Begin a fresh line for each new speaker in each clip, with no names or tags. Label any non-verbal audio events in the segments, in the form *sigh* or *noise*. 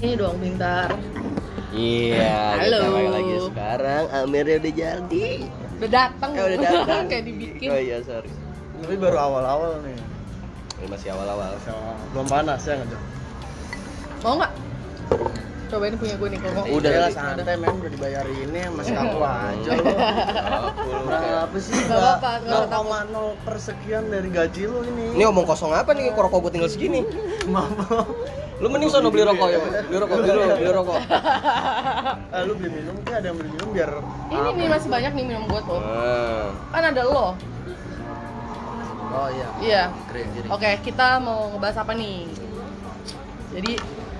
sini dong pintar
Iya,
Halo.
kita balik lagi sekarang. Amirnya udah jadi.
udah datang
Eh, udah datang.
*laughs* kayak dibikin
Oh iya, sorry.
Tapi baru awal-awal nih.
Ini masih awal-awal.
Masih awal. Belum panas ya enggak,
mau nggak cobain punya gue nih kalau mau.
Iya, Udah Iya.
lah
tadi.
santai men udah dibayar ini masih kaku aja lo. Berapa sih?
Nggak apa-apa, nggak usah takut.
0,0 persekian dari gaji lo
*laughs* Ini
ini.
omong kosong apa nih? Kok rokok gue tinggal segini?
Maaf. *laughs*
Lu mending sono beli rokok ya, beli rokok, beli rokok, beli rokok.
Eh, lu beli minum kan ada yang beli minum biar
ini nih masih banyak nih minum gue tuh
Nah,
kan ada lo
Oh iya.
iya
keren keren.
oke kita mau ngebahas apa nih jadi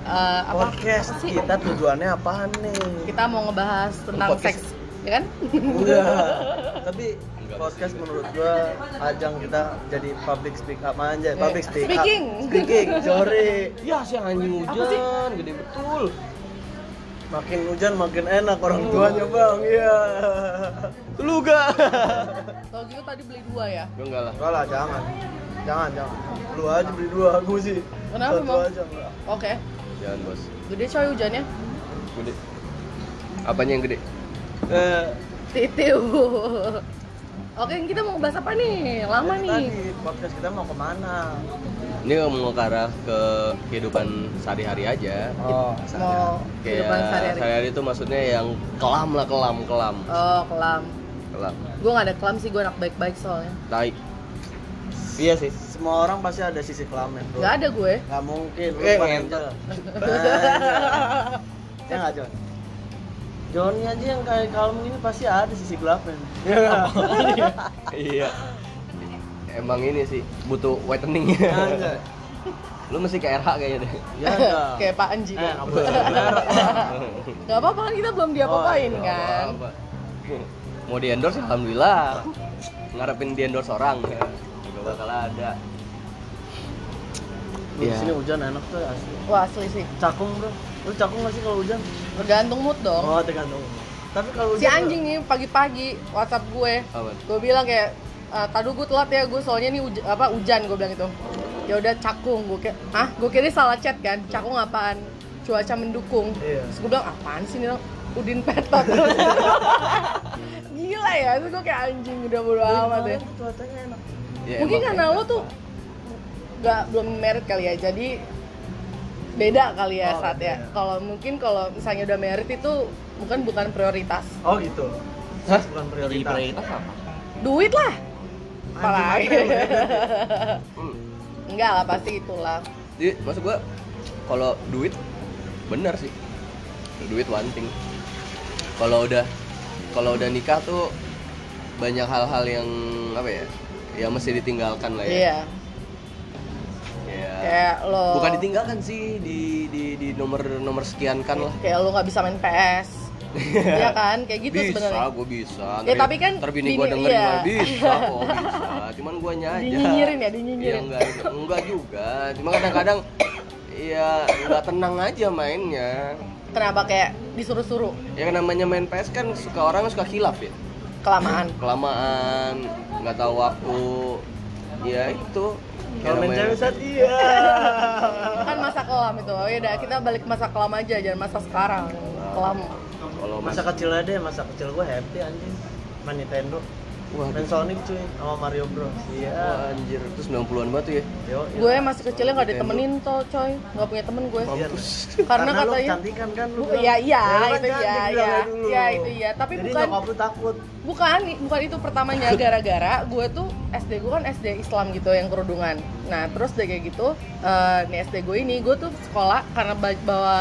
eh, apa
Podcast
apa sih?
kita tujuannya apaan
*laughs*
nih?
kita mau ngebahas tentang
Podcast.
seks ya kan
Enggak. Iya. Tapi
Enggak
podcast
bisa
menurut gua ajang kita jadi public speak up aja. Public speak
Iya.
up.
Speaking.
Speaking.
*laughs*
Sorry.
Ya sih anjing
Apa sih?
hujan, gede betul.
Makin hujan makin enak orang tuanya bang, iya.
Lu gak?
kalau gitu tadi beli dua ya
Gue enggak lah.
Enggak lah, jangan, jangan, jangan. Lu aja beli dua, aku sih.
Kenapa,
Satu
Bang?
aja enggak.
oke
Jangan bos.
gede coy hujannya *laughs*
Gede. Apanya yang gede?
Eh,
titiu oke kita mau bahas apa nih lama nih
jadi Tadi podcast kita mau kemana?
Ini mau ke arah ke kehidupan sehari-hari aja.
Oh,
mau kehidupan
Kayak
sehari-hari
Ya, sehari-hari itu maksudnya yang kelam lah kelam kelam
oh kelam
kelam.
gue gak ada kelam sih gue anak baik-baik soalnya
Tai. Iya sih.
semua orang pasti ada sisi kelamin. Bro.
Gak ada gue
Nggak mungkin. Lu
Eh,
pengen
ngentot.
*laughs*
Ya nggak John. Johnny aja yang kayak kalem gini pasti ada sisi
*laughs*
gelapnya.
iya. Emang ini sih butuh whitening.
Ah,
Anjay.
*laughs* Lu mesti ke RH kayaknya deh.
Ya enggak.
*laughs* kayak Pak Anji
Eh, nggak
*laughs*
boleh Oh, iya, merek.
Gak apa-apa kan kita belum diapa-apain
Gak
kan
Ya apa-apa. Mau di endorse alhamdulillah. Ngarepin di endorse orang ya. Gak bakal ada.
Lu Di
Iya.
sini hujan enak tuh asli.
Wah asli sih
Cakung bro, lu cakung masih kalau hujan?
Bergantung mood dong
Oh tergantung. Tapi kalau
Si anjing nih pagi-pagi Whatsapp gue
Apa?
Gue bilang kayak "Ah, Tadu gue telat ya gue soalnya nih huj- apa hujan gue bilang gitu ya udah cakung gue kayak ah gue kira dia salah chat kan cakung apaan cuaca mendukung
Iya.
terus gue bilang apaan sih nih orang? udin petot *laughs* gila ya terus gue kayak anjing udah bodo amat ya
Cuacanya enak.
Ya,
mungkin
emang
karena
kayak
lo
gitu.
tuh nggak belum merit kali ya jadi beda kali ya
Oh,
saat
iya.
ya
beda.
kalau mungkin kalau misalnya udah merit itu bukan bukan prioritas
Oh gitu.
Hah?
Bukan
Jadi
prioritas.
prioritas apa?
duit lah apalagi *laughs*
Anjing, anjing,
Hmm.
enggak lah pasti itulah
Jadi maksud gua kalau duit bener sih. Duit one thing. Kalau udah kalau udah nikah tuh banyak hal-hal yang apa ya? Yang mesti ditinggalkan lah ya.
iya
Iya.
kayak lo
Bukan ditinggalkan sih di di di nomor nomor sekian kan lah.
kayak lo nggak bisa main
*laughs*
PS Iya kan kayak gitu
bisa,
sebenarnya
gue bisa.
Ya, tapi kan
terbini
bini-
gue dengerin
iya.
gua, bisa,
*laughs*
kok bisa. Cuman gue aja.
Dinyinyirin ya, dinyinyirin.
Iya, enggak, enggak juga. Cuma kadang-kadang ya enggak tenang aja mainnya.
kenapa kayak disuruh-suruh
Ya namanya main PS kan suka orang suka hilaf ya. *laughs*
kelamaan
Kelamaan, nggak tahu waktu. Ya itu.
Kalau main cewek saat
*laughs*
iya.
kan masa kelam itu oh ya udah kita balik ke masa kelam aja jangan masa sekarang
Nah.
kelam
Kalau
Masa
masa
kecil aja deh, masa kecil gue happy anjing. Main Nintendo,
wah
main Sonic cuy, sama Mario Bros. Iya.
anjir, itu 90-an banget tuh ya.
Yo. iya.
gue masih kecilnya nggak ditemenin tuh coy nggak punya temen gue
Iya.
Mampus.
karena
lu
katanya
kecantikan kan lu.
Bu,
bilang.
iya iya
Ya, lu kan
itu iya
cantik,
iya
bilangnya dulu.
iya itu iya tapi
gitu. Jadi
bukan
nyokap lu takut.
bukan bukan itu
*laughs*
pertamanya gara-gara gue tuh SD gue kan SD Islam gitu yang kerudungan nah terus udah kayak gitu eh, nih SD gue ini gue tuh sekolah karena ba- bawa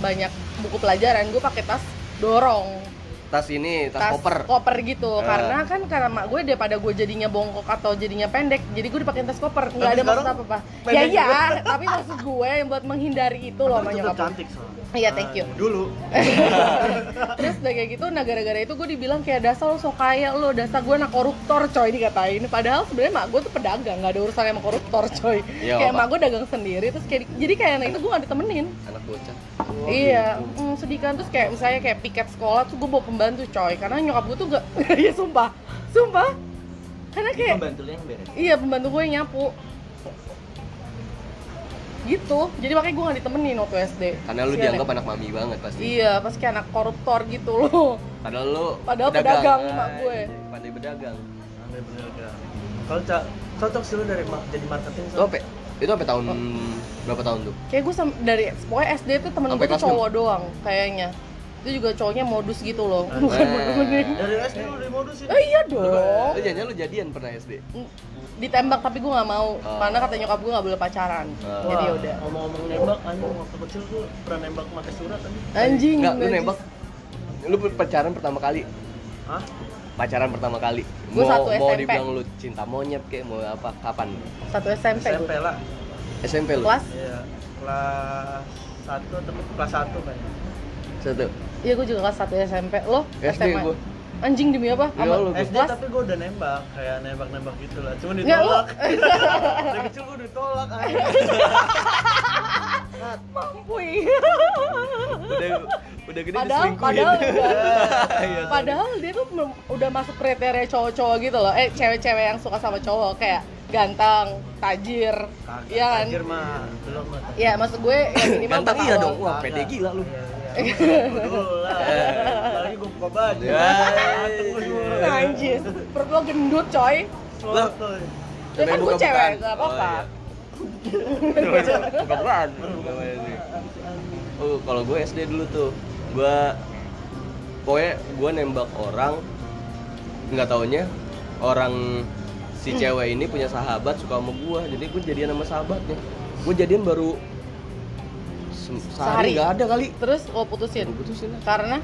banyak buku pelajaran gue pakai tas dorong
Tas ini, tas, koper.
gitu
Ah.
Eh.
karena kan karena mak gue daripada gue jadinya bongkok atau jadinya pendek jadi gue dipakai tas koper nggak ada
Tapi
maksud
sekarang
apa apa ya
pendek
iya tapi maksud gue yang buat menghindari itu loh sama
Tapi tetap
nyokap gue.
cantik soalnya.
Iya, thank you.
Ah, Dulu.
*laughs* terus udah kayak gitu nah gara-gara itu gue dibilang kayak dasar lo sok kaya lo dasar gue anak koruptor coy dikatain padahal sebenarnya mak gue tuh pedagang nggak ada urusan sama koruptor coy
Iya,
kayak
Pak.
mak gue dagang sendiri terus kayak di- jadi kayak anak itu gue gak ditemenin
Anak bocah.
iya
gitu.
mm, sedih kan terus kayak misalnya kayak piket sekolah tuh gue bawa pembantu coy karena nyokap gue tuh gak *laughs* iya sumpah sumpah karena kayak
Pembantu lu yang beres.
iya pembantu gue yang nyapu gitu jadi makanya gue gak ditemenin waktu SD
Karena lu
Kasihan
dianggap
ya.
anak mami banget pasti.
iya pasti kayak anak koruptor gitu loh
Padahal lu
Padahal pedagang, emak
Ay,
gue.
Pandai berdagang.
Ambil berdagang. Kalau cak cocok sih lu dari ma- jadi marketing
Itu apa? ya? Itu apa tahun berapa tahun tuh?
kayak gue sam- dari pokoknya SD tuh temen
Sampai
gue tuh
kelas
cowok doang kayaknya itu juga cowoknya modus gitu loh *laughs*
Ah.
bukan
Nah.
modus bening
Dari SD lu dari modus sih.
oh iya dong
Lu jangan lu jadian pernah SD.
ditembak tapi gue nggak mau
Oh.
karena kata nyokap gue nggak boleh pacaran
Ah.
jadi udah
Ngomong-ngomong nembak, anjing waktu kecil gue pernah nembak pakai surat kan?
anjing
Enggak, lu
najis.
nembak. Lu pacaran pertama kali.
Hah?
Pacaran pertama kali.
Gua
mau
satu
mau
SMP.
dibilang lu cinta monyet kayak mau apa? Kapan?
satu SMP,
SMP
gua.
lah.
SMP lu.
kelas
Iya. Kelas satu atau kelas satu kayaknya.
Satu.
iya gue juga kelas satu SMP lo
SD
SMA
gua.
anjing demi apa
Iya,
Apa?
lu.
SD
Kelas?
tapi gue udah nembak, kayak nembak-nembak gitu lah. Cuma
Nggak, lu- *laughs*
ditolak. Dari kecil gue ditolak anjing. Nat,
Mampuy. iya. *laughs*
Udah udah gede
padahal
diselingkuhin. *laughs*
padahal enggak.
Iya, sorry.
padahal dia tuh mem- udah masuk kriteria cowok-cowok gitu loh eh cewek-cewek yang suka sama cowok kayak ganteng tajir
kagak.
iya kan
Anjir mah, belum mah.
ya maksud gue ya minimal
Ganteng iya
kalau-
dong. Wah, pede gila lu.
Iya, iya. Gua dulu
*laughs*
lah. Lagi gue buka baju.
Iya.
Ya.
Ganteng lu semua.
Anjis, perut lo gendut coy
Semua tuh.
Ya kan gue cewek, nggak apa-apa
Oh, iya. Bukan. Oh, kalau gue SD dulu tuh, gue pokoknya gue nembak orang nggak taunya orang si cewek ini punya sahabat suka sama gue jadi gue jadian sama sahabatnya gue jadian baru se-
Sehari. Iya.
sehari nggak ada kali
*laughs* Terus lo putusin?
gue putusin lah
Karena?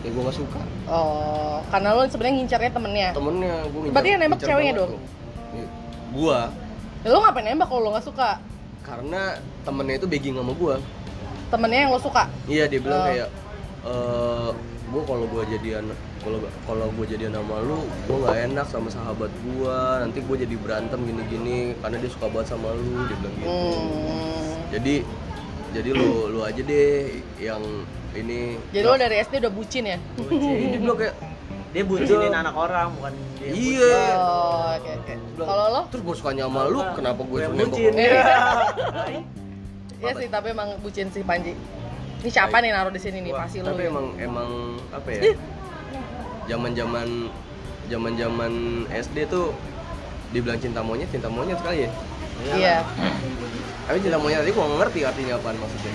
ya gue gak suka
Oh, karena lo sebenarnya ngincarnya temennya
temennya gue
Berarti yang nembak ceweknya dong?
Iya. gue
Ya, Lo ngapain nembak kalau lo nggak suka?
karena temennya itu begging sama gue
Temennya yang lo suka?
Iya dia bilang
Oh.
kayak eh gue kalau gue jadian kalau kalau gue jadian sama lu gue nggak enak sama sahabat gue nanti gue jadi berantem gini-gini karena dia suka banget sama lu dia bilang gitu
Hmm.
jadi jadi lu lu aja deh yang ini
*laughs* Jadi lo dari SD udah bucin ya?
Jadi dia bilang kayak
Dia bucinin anak orang bukan dia.
iya
Oh, oke oke.
Dia bilang,
Kalau lo?
terus gue sukanya sama lu kenapa gue
yang
suruh nembak
bucin?
sama lu?
Iya.
Iya.
Iya
Apa?
sih, tapi emang bucin sih Panji. Ini siapa nih naruh di sini nih?
Wah,
Pasti lo.
tapi
ya.
emang emang apa ya zaman zaman zaman zaman SD tuh dibilang cinta monyet cinta monyet sekali ya
Iya.
tapi cinta monyet tadi gua nggak ngerti artinya apaan maksudnya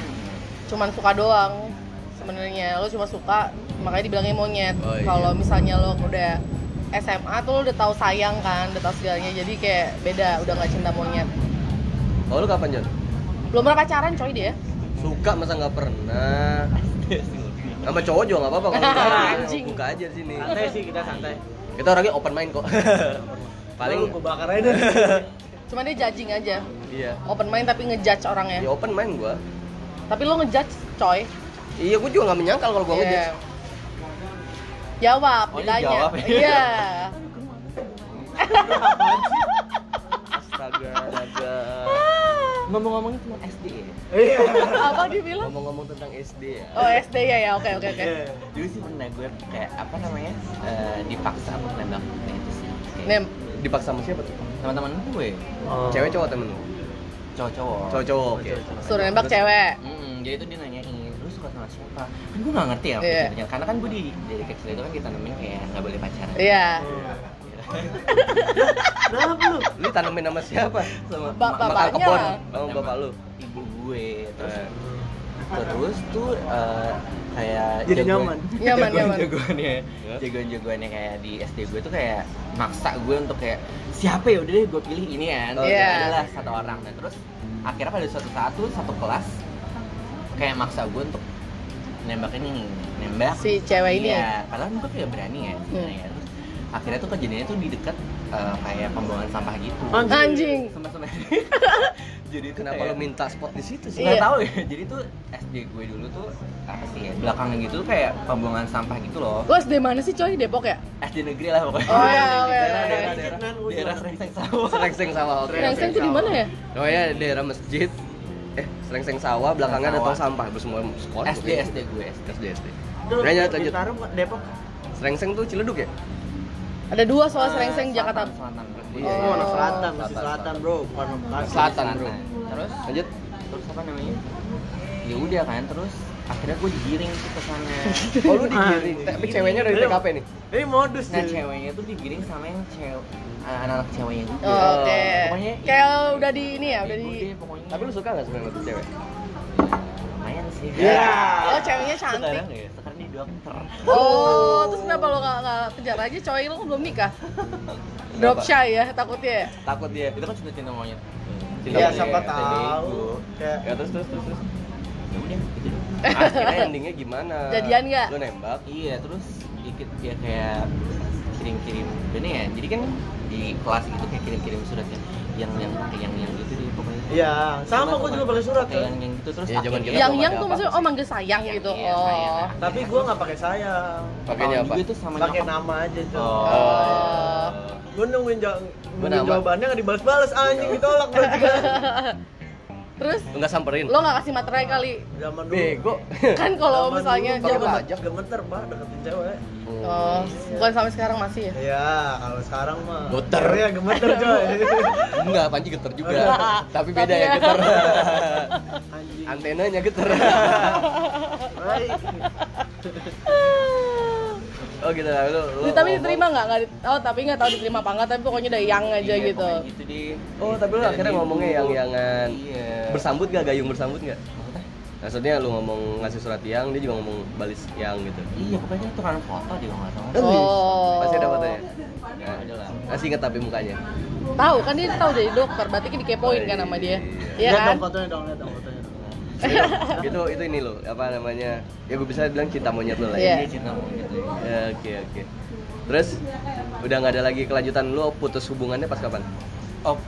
Cuman suka doang. Sebenarnya lo cuma suka, makanya dibilangnya monyet.
Oh, iya.
Kalau misalnya lo udah SMA tuh lo udah tahu sayang kan, udah tahu segalanya. Jadi kayak beda, udah nggak cinta monyet.
oh lu kapan Jon?
Belum pernah pacaran coy dia.
suka masa nggak pernah sama cowok juga nggak apa-apa
*laughs*
kalau lu
Anjing.
suka. buka aja di sini
Santai sih kita santai.
kita orangnya open mind kok *laughs* paling
gue bakar aja deh.
Cuman dia judging aja.
iya
Open mind tapi ngejudge orangnya.
ya open mind gua
Tapi lo ngejudge coy.
iya gua juga nggak menyangkal kalau gua ngejudge
Iya. Jawab,
Oh, ini
ditanya.
jawab. *laughs*
Iya.
astaga
*laughs*
astaga
Ngomong-ngomong cuma SD ya.
Apa dibilang?
ngomong-ngomong tentang SD ya
Oh SD ya ya, oke oke oke.
dulu sih pernah gue kayak apa namanya eh, dipaksa untuk nembak nah, itu sih Kayak
Nem,
dipaksa sama siapa tuh
teman-teman gue
Oh.
cewek cowok temen lu
cowok-cowok
cowok-cowok oke
suruh nembak cewek.
Mm, jadi itu dia nanyain lu suka sama siapa kan gue gak ngerti ya
Iya.
maksudnya. karena kan gue di dari kecil itu kan kita nemenin kayak nggak boleh pacaran
Iya.
Kenapa lu?
lu tanamin nama siapa
*laughs* sama
Ba-
ma-
bapaknya
makan kebon.
lah.
Oh,
Sama
bapak lu.
ibu gue terus
Eh.
terus tuh eh, kayak
Jadi
jagoan-
nyaman.
Nyaman, nyaman.
jagoannya
Ya.
jagoan-jagoannya kayak di SD gue tuh kayak maksa gue untuk kayak siapa ya udah deh gue pilih ini kan
Oh,
Terus
iya.
adalah satu orang dan terus akhirnya pada suatu saat tuh satu kelas kayak maksa gue untuk nembak ini nembak
Si cewek ini ya? Iya.
Iya, padahal gue kayak berani ya sebenarnya. Terus akhirnya tuh kejadiannya tuh di dekat eh, kayak pembuangan sampah gitu
Anjing.
sama-sama *laughs* jadi itu
Kenapa
kayak-
lu minta spot di situ sih?
nggak
Iya.
tahu ya *laughs* jadi tuh SD gue dulu tuh apa sih ya belakangnya gitu tuh kayak pembuangan sampah gitu loh
Lo SD mana sih coy? Depok ya?
SD negeri lah pokoknya
Oh, iya, oke,
daerah
oke,
daerah
oke.
*laughs* daerah
Sedikit, Nan,
daerah
ujung.
Serengseng sawah *laughs*
Selengseng sawah, oke.
Yang itu di mana ya?
Oh ya daerah masjid. Eh, Selengseng sawah belakangnya ada tong sampah, terus semua sekolah.
SD
tuh.
SD gue SD
SD SD.
Lu
Udah lanjut lanjut.
Bintaro bukan Depok.
Selengseng tuh Ciledug ya?
Ada dua soal
Eh,
Serengseng Jakarta.
selatan, selatan.
Iya,
Oh,
iya.
anak selatan, masih
Selatan,
selatan, bro, bukan Bekasi.
Selatan, Bro.
Terus
Lanjut.
terus apa namanya ya udah kan terus akhirnya gue digiring tuh ke
*laughs*
sana
Oh lu digiring, tapi ceweknya dari
Belum.
TKP nih.
Ini modus
nah
Jun.
ceweknya tuh digiring sama yang cewek eh, anak-anak ceweknya juga
Oh, oke
Pokoknya-
kayak udah di ini ya udah
Ibu
di
deh, pokoknya
Tapi lu suka nggak sebenarnya sama tuh cewek?
lumayan sih *laughs*
oh ceweknya cantik
sekarang ya sekarang di dokter
oh terus kenapa lo nggak nggak kejar aja cowok lo kan belum nikah drop shy ya takutnya ya
Takut dia.
itu kan cinta cinta monyet
Cinta
Iya,
monyet,
siapa
TDI,
tahu. Kayak
Ya terus terus terus. terus.
ya udah gitu dong
Akhirnya endingnya gimana?
Jadian nggak?
Lu nembak.
iya terus dikit dia kayak kirim kirim bener ya jadi kan di kelas gitu kayak kirim kirim surat yang yang yang pakai yang yang gitu deh pokoknya
Iya, sama
Cuman
gua juga
pakai-
pakai surat
pakai
ya.
yang yang gitu terus
Iya, zaman kita
yang
belum
yang
ada
tuh
apa
maksudnya
sih.
oh manggil sayang
Yang-
gitu
iya,
oh
sayang.
Tapi gua nggak pakai sayang.
Pakainya apa?
gue tuh sama
Pakai
nyokap.
nama aja, Jun.
Oh.
Gua nungguin, jaw- nungguin
nama.
jawabannya nggak dibalas-balas anjing ditolak gua juga. *laughs*
terus
Lu nggak samperin.
lo nggak kasih materai kali
Zaman dulu.
Bego.
kan kalau
Zaman
misalnya
dulu
pakai
zaman
pajak.
gemeter, Pak, deketin cewek.
oh bukan sampai sekarang masih ya
Iya, kalau sekarang mah.
Gemeter.
Ya gemeter, *laughs* coy.
Enggak, Panji geter juga.
Enggak.
Tapi beda ya geter.
anjing.
*laughs* Antenanya
*laughs*
geter.
Baik.
Oh gitu lah lu. lu
Di- tapi
ngomong.
diterima nggak nggak di- oh tapi nggak tahu diterima apa nggak tapi pokoknya udah yang aja
Iya,
gitu
pokoknya gitu deh.
Oh, tapi lu
Dan
akhirnya
dia
ngomongnya
dulu.
yang-yangan.
Iya.
Bersambut gak gayung bersambut gak? Maksudnya lu ngomong ngasih surat yang, dia juga ngomong balis yang gitu.
Iya, pokoknya itu kan foto dia nggak
Iya.
salah.
oh
Pasti ada fotonya.
Nah, ada lah.
Masih inget tapi
*laughs*
mukanya. gitu.
tahu kan dia tahu jadi dokter berarti kan dikepoin kan sama dia
Iya.
iya
Lihat
kan
dong fotonya dong, lihat dong fotonya. dong.
itu itu ini lo apa namanya ya gue bisa bilang cinta monyet lo lah
Iya.
ya
Dia cinta monyet gitu.
Ya, oke oke terus udah nggak ada lagi kelanjutan lo putus hubungannya pas kapan
Oh,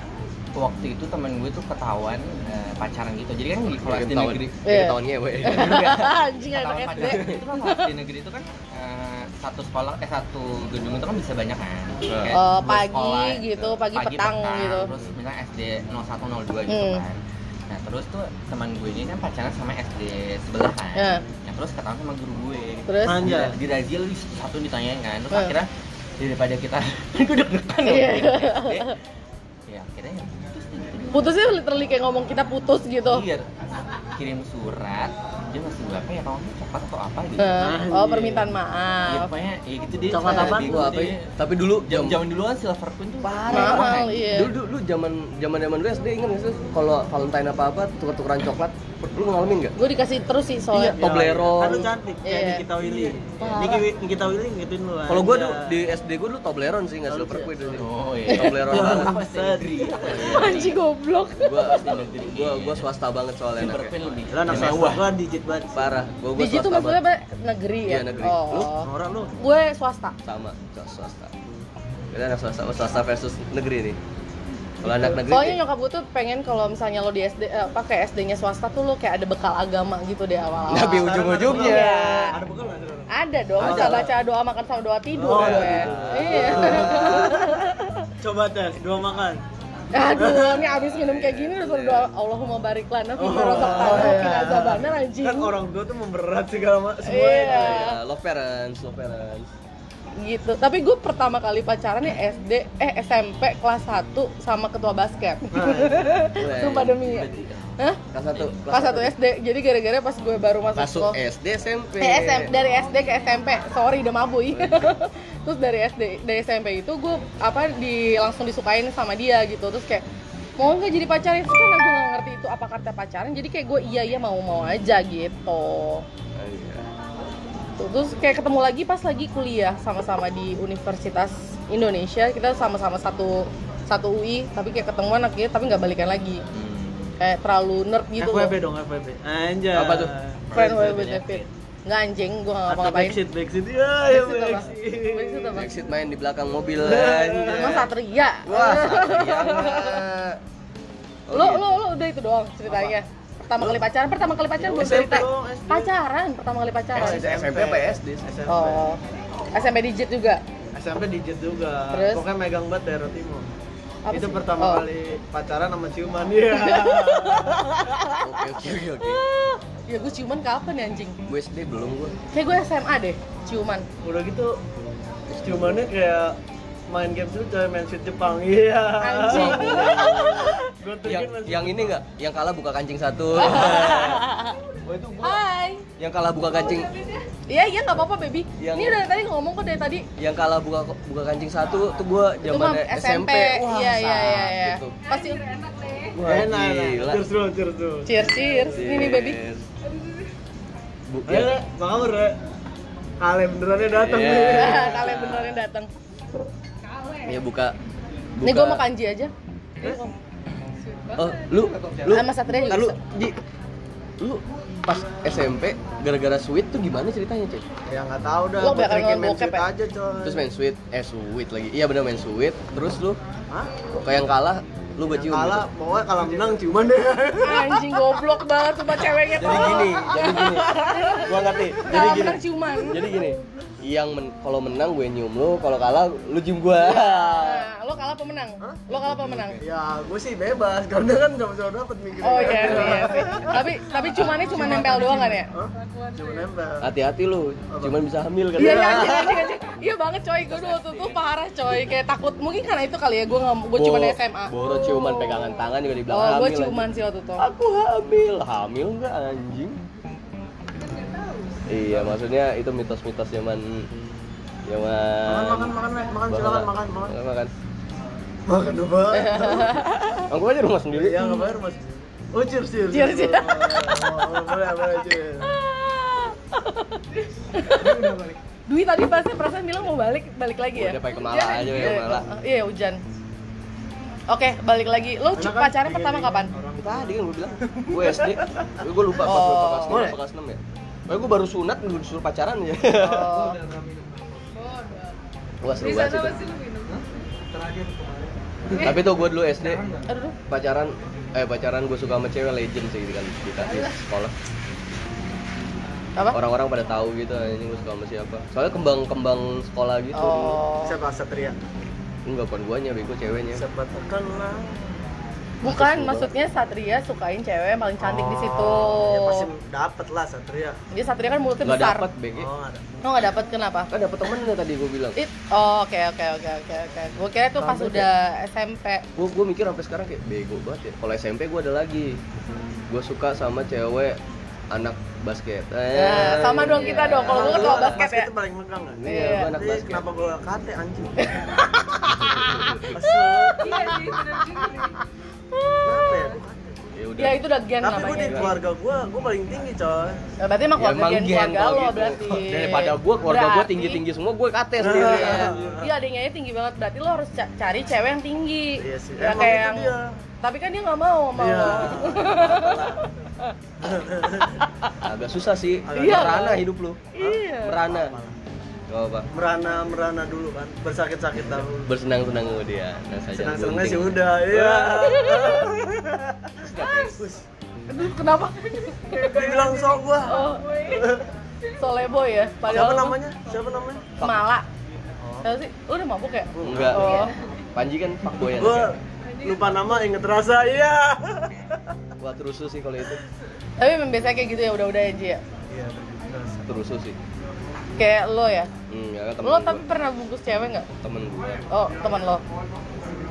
waktu itu temen gue tuh ketahuan eh, pacaran gitu. Jadi kan di kelas
Mungkin
di
tahun
negeri.
mungkin
Iya.
tahunnya ya boy
*laughs* anjing anak
Ketahuan
SD
pacaran itu kan kelas di negeri itu kan eh, satu sekolah eh satu gedung itu kan bisa banyak kan. Kayak
Oh,
dua
pagi gitu, pagi petang gitu.
Terus misalnya SD 01 02 gitu
Hmm.
kan. Nah terus tuh teman gue ini kan pacaran sama SD sebelah kan.
Iya.
Nah terus ketahuan sama guru gue.
terus
Anjing.
Di, di razia lu satu ditanyain kan. Terus
Eh.
akhirnya daripada kita *laughs* gue deg-degan loh.
Iya.
SD. Ya akhirnya ya putus deh gitu.
putusnya literally kayak ngomong kita putus gitu
Iya. Kirim surat, dia ngasih gue apa ya kalau nggak coklat atau apa gitu.
Eh, oh
Ah,
Anjing.
permintaan
Iya,
maaf
pokoknya ya gitu dia.
Coklat
cara
apaan?
bego
Gua apa ya?
dia.
tapi dulu
Jam
jam
zaman dulu kan silver pun tuh Oh,
Mahal, iya.
dulu dulu zaman zaman zaman dulu SD ingat nggak sih kalau Valentine apa apa tukar tukeran coklat lu ngalamin nggak
gue dikasih terus sih
Iya,
soalnya
Toblerone.
Kan lu cantik kayak
Iya.
Nikita Willy.
Parah.
Nikita Wi- Nikita Willy ngituin lu.
kalau gue
aja.
dulu di SD gue dulu Toblerone sih nggak
Toblerone.
silver kuih dulu
Oh iya.
Toblerone
*laughs*
banget
Bangsat.
*laughs* anjing goblok
gue gue gue swasta banget soalnya
Silver pun
anaknya.
lebih.
Lah anak
lebih
swasta
mewah.
gua digit banget. sih.
parah gue gue
Digi
swasta
tuh maksudnya
banget
apa? negeri ya?
Iya, negeri. Lu?
Oh.
Norak lu.
Gue swasta.
sama ke swasta kita anak swasta swasta versus negeri nih kalau anak negeri
Soalnya nyokap gue tuh pengen kalau misalnya lo di SD eh, pakai SD-nya swasta tuh lo kayak ada bekal agama gitu deh awal-awal.
Tapi
Sekarang
ujung-ujungnya.
ada
Iya.
bekal. Ada bekal nggak sekarang?
Ada dong,
Ada
bisa
lah.
baca doa makan sama doa tidur
Oh,
gue.
iya.
Iya.
*laughs*
*laughs*
Coba tes, dua makan.
Aduh, ini abis minum kayak gini udah suruh doa Allahumma barik lana fi
Iya. Oh,
rozaqtana
iya.
wa qina azabannar anjing.
Kan orang tua tuh memberat segala macam
Iya. *laughs*
semuanya.
Ya, love parents love parents
Gitu. Tapi gue pertama kali pacaran nih SD eh SMP kelas 1 sama ketua basket.
iya.
Weh,
Sumpah demi. Hah?
kelas satu
Kelas 1 SD. Jadi gara-gara pas gue baru masuk
masuk
sekolah-
SD SMP
Eh, SM, dari SD ke SMP, sorry udah mabui. *laughs* terus dari SD, dari SMP itu gue apa di langsung disukain sama dia gitu. Terus kayak mau nggak jadi pacarin? Terus karena gue nggak ngerti itu apa kata pacaran, jadi kayak gue iya iya mau mau aja gitu.
Oh, iya.
Tuh, Terus kayak ketemu lagi pas lagi kuliah sama-sama di Universitas Indonesia, kita sama-sama satu satu UI, tapi kayak ketemuan akhirnya tapi nggak balikan lagi. Kayak terlalu nerd gitu. loh.
FWB dong, FWB. Anjay.
Apa tuh?
Friend with benefit. Nggak anjing, gue nggak
Atau
ngapa-ngapain.
backseat, backseat. Ya, ya
Backseat apa? Backseat
backseat.
apa?
exit main di belakang mobil
Nah,
anjay.
Emang satria. *laughs*
wah ya. satria
Lo lo lo udah itu doang ceritanya. Pertama kali pacaran, pertama kali pacaran belum
SMP
cerita.
dong, SD.
Pacaran pertama kali pacaran.
SD. SMP apa SD?
SMP.
Oh. SMP digit juga.
SMP digit juga.
Terus?
Pokoknya megang banget daerah timur.
Apa
itu
sih?
pertama
Oh.
kali pacaran sama ciuman Iya.
*laughs*
oke oke oke oke
Ah, Ya gue ciuman kapan ya anjing?
gue SD belum gue
Kayak gue SMA deh,
*laughs*
ciuman.
Udah gitu ciumannya kayak main game dulu coy main shoot Jepang. Iya.
Anjing.
Gua
yang,
trigger langsung.
yang ini nggak yang kalah buka kancing
*laughs*
satu
Wah Oh, itu gua
Hai.
yang kalah buka kancing
Iya iya nggak apa-apa baby.
Yang-
Ini dari tadi ngomong kok dari tadi.
yang kalah buka buka kancing satu tuh gue
Itu mah
zaman SMP,
SMP. Iya iya iya. iya.
gitu.
sakit tuh.
Pasti
Wah, enak,
gila.
enak. Cheers dulu, cheers dulu.
cheers cheers. Ini baby.
Yes. Bu,
Ayo, Le,
ya,
apa kabar, Le? Kale benerannya datang
Iya.
nih.
*laughs* Kalian beneran datang.
ya buka, buka
Nih gue mau kan- kanji aja.
Oh, lu lu
Sama Satria juga
Ntar lu
bisa.
di lu pas SMP gara-gara sweet tuh gimana ceritanya, Coy?
Ya nggak tahu dah,
Lo
gua
bakal
terakhir main
ngomong bokep
sweet
ya?
aja coy.
Terus main sweet, eh sweet lagi. Iya benar main sweet. Terus lu
Hah?
kayak yang kalah lu gue
Yang
cium.
Kalah,
gitu.
pokoknya kalah menang ciuman deh.
Anjing goblok banget sama ceweknya
Jadi
tolong.
gini, jadi gini. Gua ngerti. Jadi
Kalah
gini.
menang ciuman.
Jadi gini. Yang men kalau menang gue nyium lu, kalau kalah lu cium gua.
Nah, lo kalah pemenang. Lo kalah pemenang.
*laughs* ya, gue sih bebas, karena kan sama-sama dapet mikirnya.
Oh iya sih, iya sih. Tapi tapi cumannya cuma nempel doang kan ya?
Hah? Cuma nempel.
Hati-hati lu, cuman bisa hamil kan.
Iya iya anjing, anjing, anjing. Iya banget coy, gue dulu waktu itu parah coy, kayak takut mungkin karena itu kali ya gue nggak gue cuma
Bo-
SMA.
Boro ciuman pegangan tangan juga dibilang
Oh gue
hamil.
Oh, cuman
anjing.
sih waktu itu.
Aku hamil, hamil nggak anjing? Iya, maksudnya itu mitos-mitos zaman zaman
Makan, makan, makan, Le. Makan, silakan makan, makan.
Makan, makan.
Makan apa?
*laughs*
Aku aja rumah sendiri.
Ya, nggak bayar, Mas. Oh, cheers, cheers.
Cheers, cheers.
Oh, boleh, boleh, cheers.
Dwi tadi bahasnya perasaan bilang mau balik balik lagi ya?
Udah pakai kemala aja ya, kemala.
Iya hujan. Oke balik lagi. Lo
Enak kan?
pacaran pertama kapan?
Tadi kan gue bilang, gue SD, gue lupa pas
Oh.
berapa kelas
Boleh.
lima, kelas enam ya. Pokoknya gue baru sunat, gue disuruh pacaran *laughs* ya.
Oh.
Wah seru banget sih. tuh. Tapi tuh gue dulu
Eh,
SD
Aduh.
pacaran eh pacaran gue suka sama cewek legend sih di kan di di sekolah
Apa?
orang-orang pada tahu gitu ini gue suka sama siapa soalnya kembang-kembang sekolah gitu
Oh.
Siapa Satria?
enggak bukan guanya bego
Iya.
ceweknya
Siapa terkenal?
Bukan, maksudnya Satria sukain cewek yang paling cantik di situ.
Ya pasti dapet lah Satria.
Dia Satria kan mulutnya
nggak
besar.
dapat bego
Oh, ada.
Lo nggak dapet kenapa?
kan dapat temennya tadi gue bilang
It, oh, oke oke oke oke oke. Gue kira itu pas
Rambut
udah
ya?
SMP.
gue gue mikir sampai sekarang kayak bego banget ya kalau SMP gue ada lagi gue suka sama cewek anak basket
Ya, sama dong kita dong, kalau gua
Emang
ketua
lu
basket ya?
itu paling megang kan?
iya
Iya.
gua anak
Jadi
basket
kenapa gue kate
*laughs*
anjing? gitu?
Iya
Kenapa ya? gua kate?
ya udah
Ya itu udah gen
Tapi gue di
namanya.
keluarga gue, gue paling tinggi coy
Ya, berarti emang
Ya,
keluarga gen keluarga
kalau
lo
gitu.
berarti.
*laughs* daripada gue keluarga gue
Berarti-
tinggi tinggi semua gitu gue kate sendiri
Nah.
Iya. *laughs* Iya, adiknya aja tinggi banget. Berarti lo harus ca- cari cewek yang tinggi.
Iya sih,
Ya,
emang
kayak
itu
yang-
dia
Tapi kan dia nggak mau sama
Iya
lo.
*laughs*
agak susah sih
Iya.
merana hidup lu
Iya.
merana gak apa
Merana-merana dulu kan, bersakit-sakit dahulu
bersenang senang kemudian nah, saja
Senang-senangnya
gunting.
sih udah, iya
Aduh,
*laughs*
kenapa?
Dibilang sok gue
Oh. Solebo ya, padahal
Siapa
lo-
namanya? Oh. Siapa namanya?
Mala. Tahu sih, lu udah mabuk ya?
enggak
Oh.
Panji kan pak boyan
Gue
iya.
lupa nama inget rasa, iya
gua terusu sih kalau itu
Tapi memang biasanya kayak gitu ya, udah-udah aja ya.
Iya, inget rasa
terusu sih
Kayak lo ya.
hmm, ya kan temen
Lo
gua.
tapi pernah bungkus cewek nggak?
temen gua
Oh, teman lo.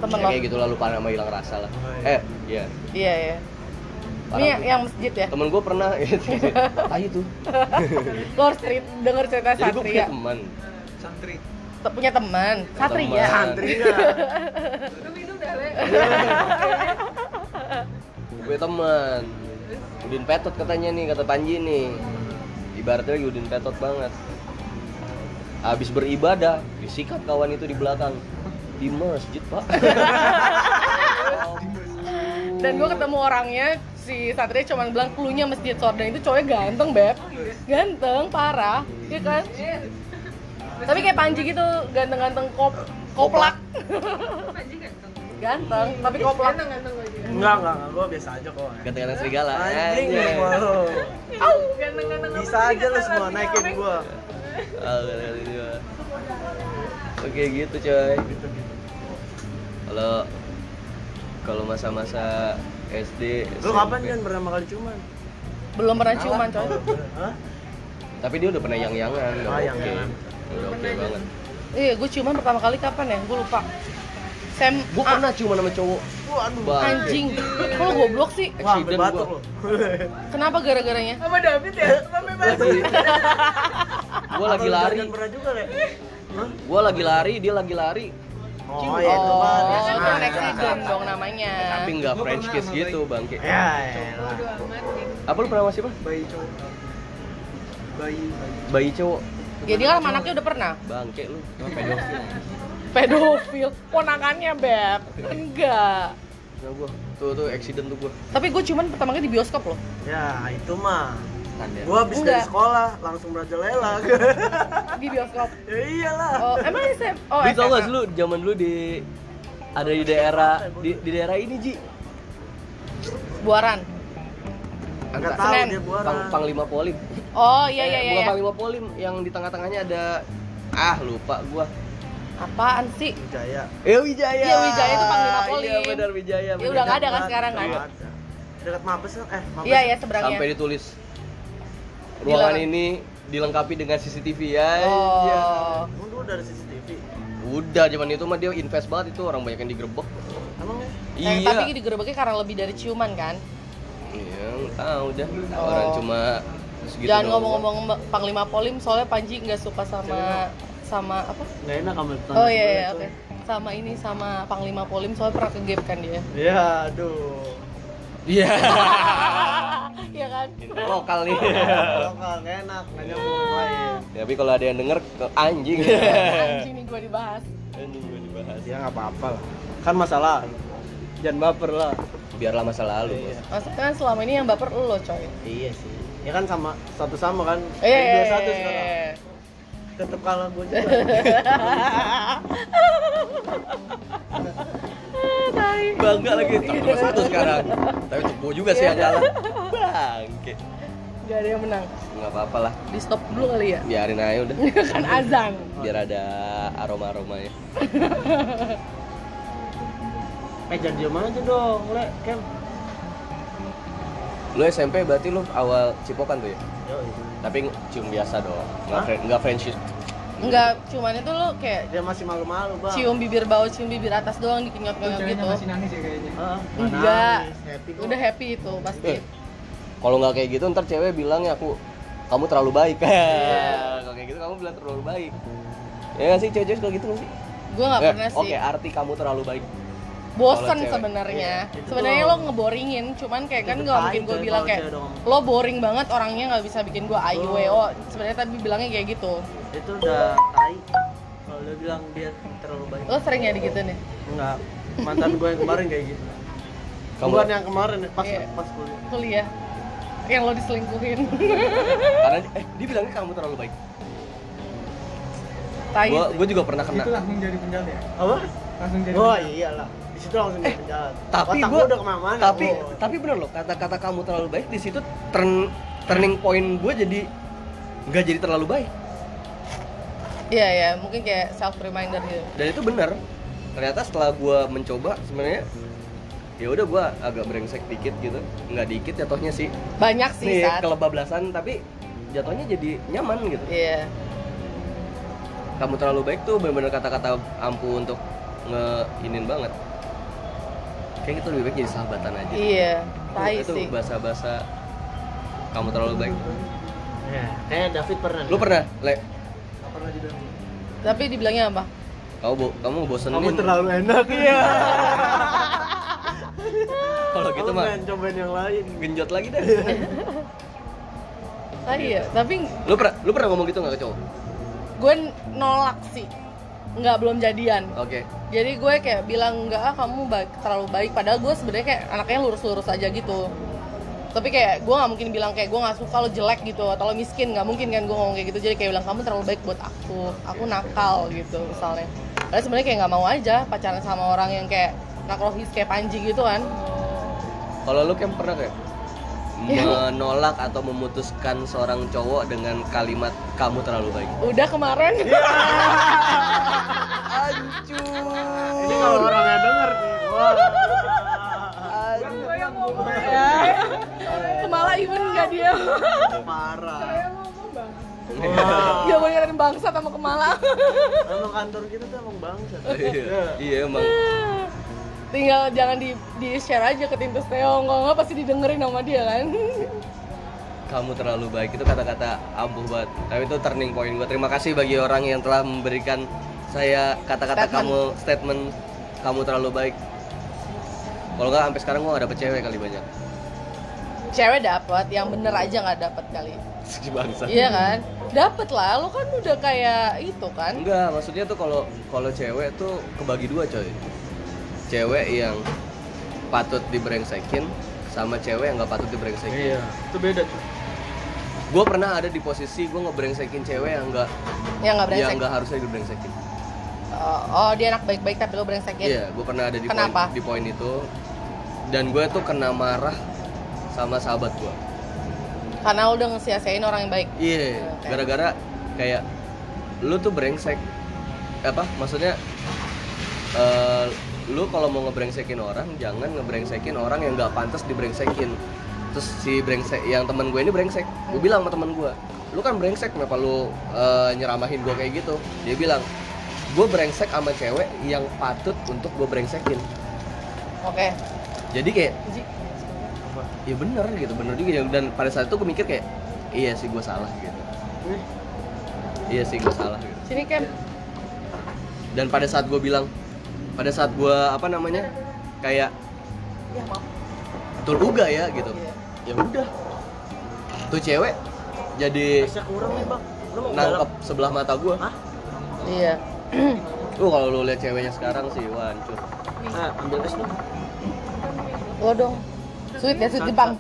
Teman
Ya,
lo.
kayak gitu lah lupa nama hilang rasa lah eh iya
Iya, iya. Ini
Parah
yang,
tuh.
yang masjid ya.
temen gua
*laughs*
pernah Gitu. tai tuh
Lo harus cerit, denger cerita
jadi gua punya
Satria.
teman
Te- punya teman, Satria.
Teman.
Santri nggak?
gue teman udin petot katanya nih kata Panji nih ibaratnya lagi udin petot banget habis beribadah disikat kawan itu di belakang di masjid pak *laughs*
Dan gue ketemu orangnya si Satria cuman bilang klunya masjid Sordan itu cowoknya ganteng beb ganteng parah ya kan tapi kayak Panji gitu ganteng-ganteng kop koplak ganteng tapi koplak
Enggak, enggak, gue biasa aja kok
kata-kata serigala
Anjing
Anjay.
semua lo. Bisa aja lo semua naikin gua.
Ah, kata-kata dia. oke gitu coy kalau kalau masa-masa SD
Lu kapan
SMP.
kan pertama kali cuman?
belum pernah ciuman coy
Hah?
tapi dia udah pernah yang-yangan udah
Ah,
oke
yang-yangan.
udah oke banget
Iya, gue ciuman pertama kali kapan ya? Gue lupa. Sam,
gue
ah,
pernah cuma sama cowok
lu aduh
Bang.
Anjing, kok lo goblok sih?
wah
Accident
sampai batuk
gua.
lu
Kenapa gara-garanya?
sama David ya sampai batuk
Lagi- Gua lagi lari.
Jangan pernah juga deh Hah?
Gua lagi lari, dia lagi lari.
oh ya itu mah
Oh,
iya. dia
kan
sengaja.
bukan accident dong namanya.
Tapi nggak French kiss gitu, bangke.
ya elah.
Bodo amat nih.
Apa lu pernah masih, Bang?
bayi cowok bayi bayi
Bayi cowok.
Jadi kan sama anaknya udah pernah
Bangke lu.
Cuma pedofil.
pedofil ponakannya beb enggak
Nah, gua. Tuh tuh accident tuh gua.
tapi gue cuman pertama kali di bioskop loh
ya itu mah
Tanda.
gua habis dari
Enggak.
sekolah langsung merajalela
di bioskop
*laughs* ya iyalah
oh emang SM oh
lu tau gak sih
SMA?
lu zaman dulu di ada di daerah di, di daerah ini Ji
buaran
nggak
Angka-
tahu
Senen.
dia
pang,
buaran
panglima polim
oh iya iya
Eh,
iya
bukan
iya.
panglima polim yang di tengah-tengahnya ada ah lupa gua
apaan sih
Jaya
eh Wijaya
Iya, Wijaya itu Panglima
iya
Polim.
benar Wijaya
Ya,
benar.
udah nggak ada kan sekarang kan?
dekat mabes kan eh mabes
iya ya seberangnya
sampai ditulis ruangan
Dilarang.
ini dilengkapi dengan CCTV ya iya.
oh
Emang dulu dari CCTV
udah zaman itu mah dia invest banget itu orang banyak yang digerebek
emang ya
Yang
iya
Eh, Nah, tapi digerebeknya karena lebih dari ciuman kan
iya tahu udah orang
Oh.
cuma segitu
jangan
doang.
ngomong-ngomong Mbak- panglima polim soalnya Panji nggak suka sama sama apa
nggak enak kamu
oh iya
ya,
iya oke sama ini sama panglima polim soalnya pernah ke gap kan *laughs* dia
ya aduh
iya *laughs*
iya kan
lokal
*laughs*
nih Ya,
lokal nggak enak nggak nyambung yang lain
tapi kalau ada yang denger ke anjing
Iya.
*laughs*
anjing nih gue dibahas
anjing gue dibahas
ya nggak apa-apa lah kan masalah jangan baper lah
biarlah masa lalu bos.
Maksudnya kan selama ini yang baper lo coy
iya sih ya kan sama satu sama kan
Eh,
Jadi dua satu sekarang
iya.
tetap kalah gue
*laughs*
juga
iya.
bangga lagi tetap nomor Iya. satu sekarang tapi cepu juga sih yang kalah bangke
Gak iya. ada yang menang
nggak apa-apa lah
Di stop dulu kali ya *laughs*
biarin aja udah
Kan azan
biar ada aroma aromanya
eh jangan diem aja dong le kem
lu SMP berarti lu awal cipokan tuh ya
Yo,
tapi cium biasa dong nggak
Hah?
friend nggak friendship
Enggak, cuman itu lo kayak
dia masih malu-malu bang
cium bibir bawah, cium bibir atas doang dikenyot-kenyot
Ceweknya
gitu
masih nangis ya kayaknya
Heeh, nggak
Enggak
nangis, happy kok.
Udah happy itu pasti
Eh, kalau nggak kayak gitu ntar cewek bilangnya aku kamu terlalu baik *laughs* kalau kayak gitu kamu bilang terlalu baik ya nggak sih cewek-cewek kalau gitu nggak sih
Gue gak
Eh,
pernah
oke
sih
arti kamu terlalu baik
Bosen
kalau cewek.
sebenarnya
Iya, itu
Sebenarnya
doang.
lo ngeboringin Cuman kayak kan
Itu
gak mungkin
tai
gue
coy,
bilang
kalau
kayak
cewek udah ngomong.
Lo boring banget orangnya gak bisa bikin gue
Oh.
IUWO Sebenarnya tapi bilangnya kayak gitu
itu udah tai kalau dia bilang dia terlalu baik
Lo sering ya gitu nih?
enggak mantan gue yang kemarin kayak gitu
Kamu-
bukan yang kemarin pas
Iya.
pas kuliah
Kuliah Yang lo diselingkuhin *laughs*
karena eh dia bilangnya kamu terlalu baik
Tai
gua
sih.
gua juga pernah kena
itu langsung jadi penjahat ya
apa
langsung jadi
oh
penjahat.
iyalah di situ langsung di penjahat
Eh, tapi
Otak
gua
udah kemana-mana
tapi
gua.
tapi bener loh kata-kata kamu terlalu baik di situ turn- turning point gue jadi nggak jadi terlalu baik
Iya ya, mungkin kayak self reminder gitu.
dan itu bener ternyata setelah gue mencoba sebenarnya ya udah gue agak brengsek dikit gitu nggak dikit jatuhnya sih
Banyak sih
nih
saat.
kelebablasan tapi jatuhnya jadi nyaman gitu
Iya.
kamu terlalu baik tuh bener-bener kata-kata ampuh untuk ngeinin banget kayak gitu lebih baik jadi sahabatan aja
Iya, tai
itu
sih.
bahasa-bahasa kamu terlalu baik
ya, kayak David pernah
lu pernah le
Nggak pernah jadi orang.
Tapi dibilangnya apa?
kamu bo kamu bosenin
kamu terlalu
*laughs*
enak ya
kalau gitu mah
pengen cobain yang lain
genjot lagi deh
Tadi ya, tapi
*laughs* lu pernah lu pernah ngomong gitu nggak ke cowok
gue nolak sih. Nggak belum jadian.
oke
Jadi gue kayak bilang enggak ah, kamu baik, terlalu baik padahal gue sebenarnya kayak anaknya lurus-lurus aja gitu. Tapi kayak gue nggak mungkin bilang kayak gue nggak suka lo jelek gitu atau lo miskin nggak mungkin kan gue ngomong kayak gitu. Jadi kayak bilang kamu terlalu baik buat aku, aku nakal gitu misalnya. Padahal sebenarnya kayak nggak mau aja pacaran sama orang yang kayak nakrofis kayak Panji gitu kan.
kalau lu kan pernah kayak menolak atau memutuskan seorang cowok dengan kalimat kamu terlalu baik
Udah kemarin.
Oh.
ini kalau orangnya denger nih wah
Malah ya. even nggak dia.
parah
Gak
*laughs*
Wah,
boleh ngeliatin bangsa sama kemala.
*laughs*
emang kantor kita tuh emang bangsa
iya iya emang
tinggal jangan di di share aja ke tim Teong kalau nggak pasti didengerin sama dia kan
kamu terlalu baik itu kata-kata ampuh banget tapi itu turning point gue terima kasih bagi orang yang telah memberikan saya kata-kata
Statement.
kamu statement kamu terlalu baik kalau nggak sampai sekarang gue nggak dapet cewek kali banyak *laughs*
cewek dapat yang bener aja nggak dapat kali
si bangsa
iya kan dapat lah lo kan udah kayak itu kan
enggak maksudnya tuh kalau kalau cewek tuh kebagi dua coy cewek yang patut dibrengsekin sama cewek yang nggak patut
Iya,
dibrengsekin
itu beda tuh.
gue pernah ada di posisi gue ngebrengsekin cewek yang nggak
yang Iya, nggak
yang
brengsek
nggak harusnya dibrengsekin
oh, oh, dia anak baik-baik tapi lo brengsekin
Iya, gue pernah ada di
Kenapa?
poin di poin itu dan gue tuh kena marah sama sahabat gue.
karena lo udah ngesia-siain orang yang baik
Iya,
Oke.
gara-gara kayak lu tuh brengsek apa? Maksudnya eh, lu kalau mau ngebrengsekin orang jangan ngebrengsekin orang yang nggak pantas dibrengsekin. Terus si brengsek yang teman gue ini brengsek. Gue bilang sama teman gue, lu kan brengsek kenapa lu eh, nyeramahin gue kayak gitu? Dia bilang, gue brengsek sama cewek yang patut untuk gue brengsekin.
oke
Jadi kayak
Ji-
ya bener gitu bener juga ya. dan pada saat itu gue mikir kayak iya sih gue salah gitu iya sih gue salah gitu.
sini Kem
dan pada saat gue bilang pada saat gue apa namanya kayak
ya maaf
betul juga ya gitu
Iya.
ya udah tuh cewek jadi
Masih kurang nih bang. Lu mau
nangkep sebelah mata gue
Hah?
iya
tuh kalau lu lihat ceweknya sekarang sih wancur
Nah, ambil es lu.
lo dong sweet ya sweet Jepang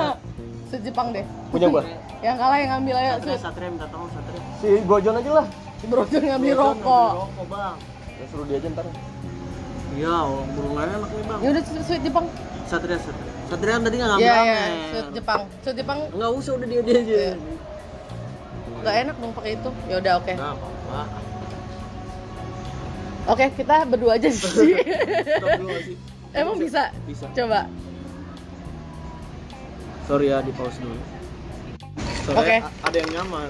*laughs* sweet Jepang deh
punya gue
yang kalah yang ngambil ayo
Satria,
sweet
Satria minta tolong Satria.
si Gojon aja lah
bro jangan ngambil
Bang,
rokok
ambil Rokok bang.
ya, suruh dia aja ntar
Iya, orang burungannya enak nih bang.
ya udah sweet, sweet Jepang
Satria, Satria. Satria kan tadi nggak ngambil
Iya, iya,
amer.
sweet Jepang. Sweet Jepang
Nggak usah udah dia dia aja.
Iya. nggak enak dong pakai itu. Ya udah oke.
Nggak apa-apa.
Oke, kita berdua aja sih.
Stop dulu nggak sih.
Emang bisa?
Bisa.
Coba.
Sorry ya, di pause dulu. Sorry,
Oke.
a- ada yang nyaman.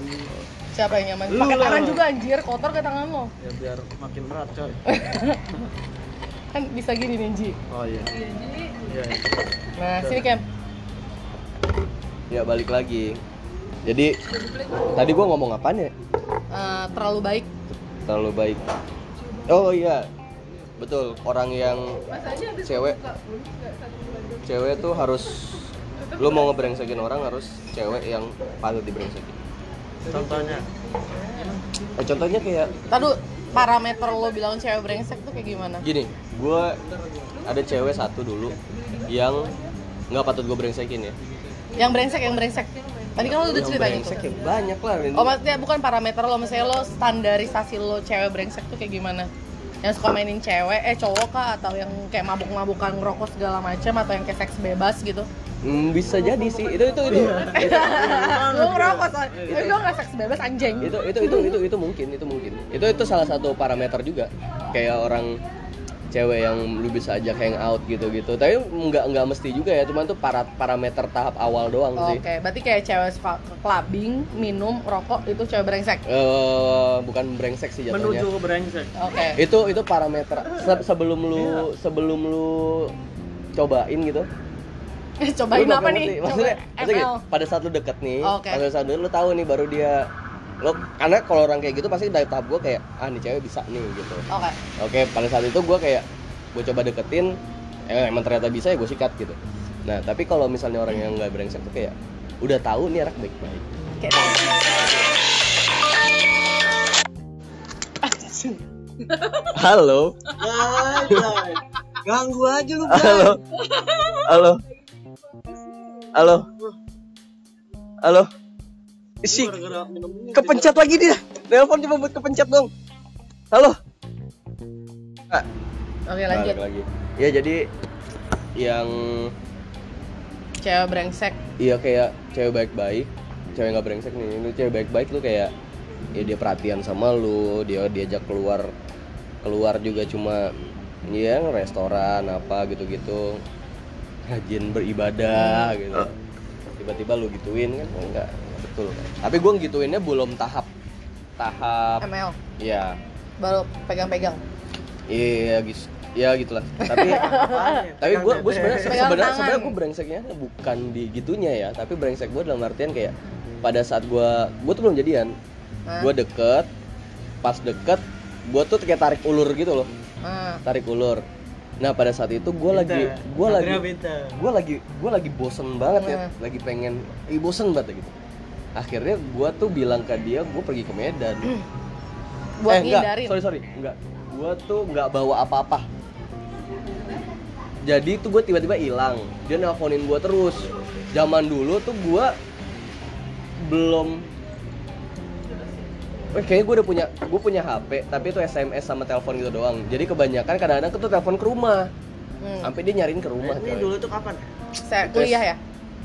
Siapa yang nyaman?
Lu
Pakai
lah.
tangan juga anjir, kotor ke tangan lo.
Ya biar makin berat coy.
Kan bisa gini nih, Ji.
Oh iya. Iya. iya.
Nah, sini Kem.
ya balik lagi jadi tadi gue ngomong apaan ya
Eh, terlalu baik.
terlalu baik oh iya betul orang yang cewek cewek tuh harus lu mau ngebrengsekin orang harus cewek yang patut dibrengsekin
Contohnya.
Eh, contohnya kayak
Tadu parameter lo bilang cewek brengsek tuh kayak gimana?
gini gue ada cewek satu dulu yang nggak patut gue brengsekin ya
Yang brengsek, yang brengsek. Tadi kan lo udah
Yang
ceritain itu.
brengsek ya banyak lah Rin.
Oh, maksudnya bukan parameter lo, misalnya lo standarisasi lo cewek brengsek tuh kayak gimana? Yang suka mainin cewek, eh cowok kah? Atau yang kayak mabuk-mabukan, ngerokok segala macam atau yang kayak seks bebas gitu?
Hmm, bisa jadi sih itu itu itu
Iya.
itu Iya,
lo ngerokok soalnya, tapi gue nggak seks bebas anjing
itu itu itu itu itu mungkin itu mungkin itu itu salah satu parameter juga kayak orang cewek yang lu bisa ajak hang out gitu gitu tapi nggak nggak mesti juga ya cuman tuh para parameter tahap awal doang
Oke,
sih
berarti kayak cewek suka ke clubbing, minum, rokok itu cewek brengsek.
eh bukan brengsek sih
Menuju
jatuhnya
ke brengsek.
Oke.
itu itu parameter Se- sebelum lu
Iya.
sebelum lu cobain gitu
Eh, Cobain
lu
apa
bakal ngerti.
nih?
maksudnya,
Coba
maksudnya
ML.
kayak pada saat lu deket nih
Oke.
pada saat lu tahu nih baru dia lo karena kalau orang kayak gitu pasti dari tahap gua kayak ah nih cewek bisa nih gitu
Oke.
Oke, pada saat itu gue kayak gue coba deketin, eh, emang ternyata bisa ya gue sikat gitu. Nah, tapi kalau misalnya orang yang nggak brengsek tuh kayak udah tahu nih anak baik-baik.
Kayak Anjing.
Halo,
Hai, Bray. Ganggu aja lu, Bray.
halo, halo, halo, halo. Isi,
Gara-gara minum ini.
kepencet lagi dia. Telepon cuma buat kepencet dong. Halo.
Oke, lanjut.
Balik lagi. Ya jadi yang
Cewek brengsek.
Iya kayak cewek baik-baik, cewek nggak brengsek nih. Lu cewek baik-baik lu kayak ya dia perhatian sama lu, dia diajak keluar keluar juga cuma ya restoran apa gitu-gitu rajin beribadah gitu tiba-tiba lu gituin kan enggak betul tapi gue gituinnya belum tahap tahap
ML
ya
baru pegang-pegang.
iya guys ya gitulah tapi
Apaan ya?
tapi gue gue sebenarnya
Pegang
sebenarnya
tangan.
sebenarnya gue brengseknya bukan di gitunya ya tapi brengsek gue dalam artian kayak pada saat gue gue tuh belum jadian
Hah?
gue deket pas deket gue tuh kayak tarik ulur gitu loh
Ah,
tarik ulur nah pada saat itu gue lagi
Beta.
gue lagi
Akhirnya beta.
gue lagi gue lagi bosen banget ya
Nah.
lagi pengen ih bosen banget ya gitu akhirnya gue tuh bilang ke dia gue pergi ke Medan
buat
Eh, enggak,
ngindarin
sorry sorry enggak gue tuh nggak bawa apa-apa jadi tuh gue tiba-tiba hilang dia nelponin gue terus zaman dulu tuh gue belum Eh, kayaknya gue udah punya gue punya HP tapi itu SMS sama telepon gitu doang jadi kebanyakan kadang-kadang tuh telepon ke rumah
Hmm.
sampai dia nyariin ke rumah
Eh, Ini
coy.
dulu tuh kapan?
saya kuliah ya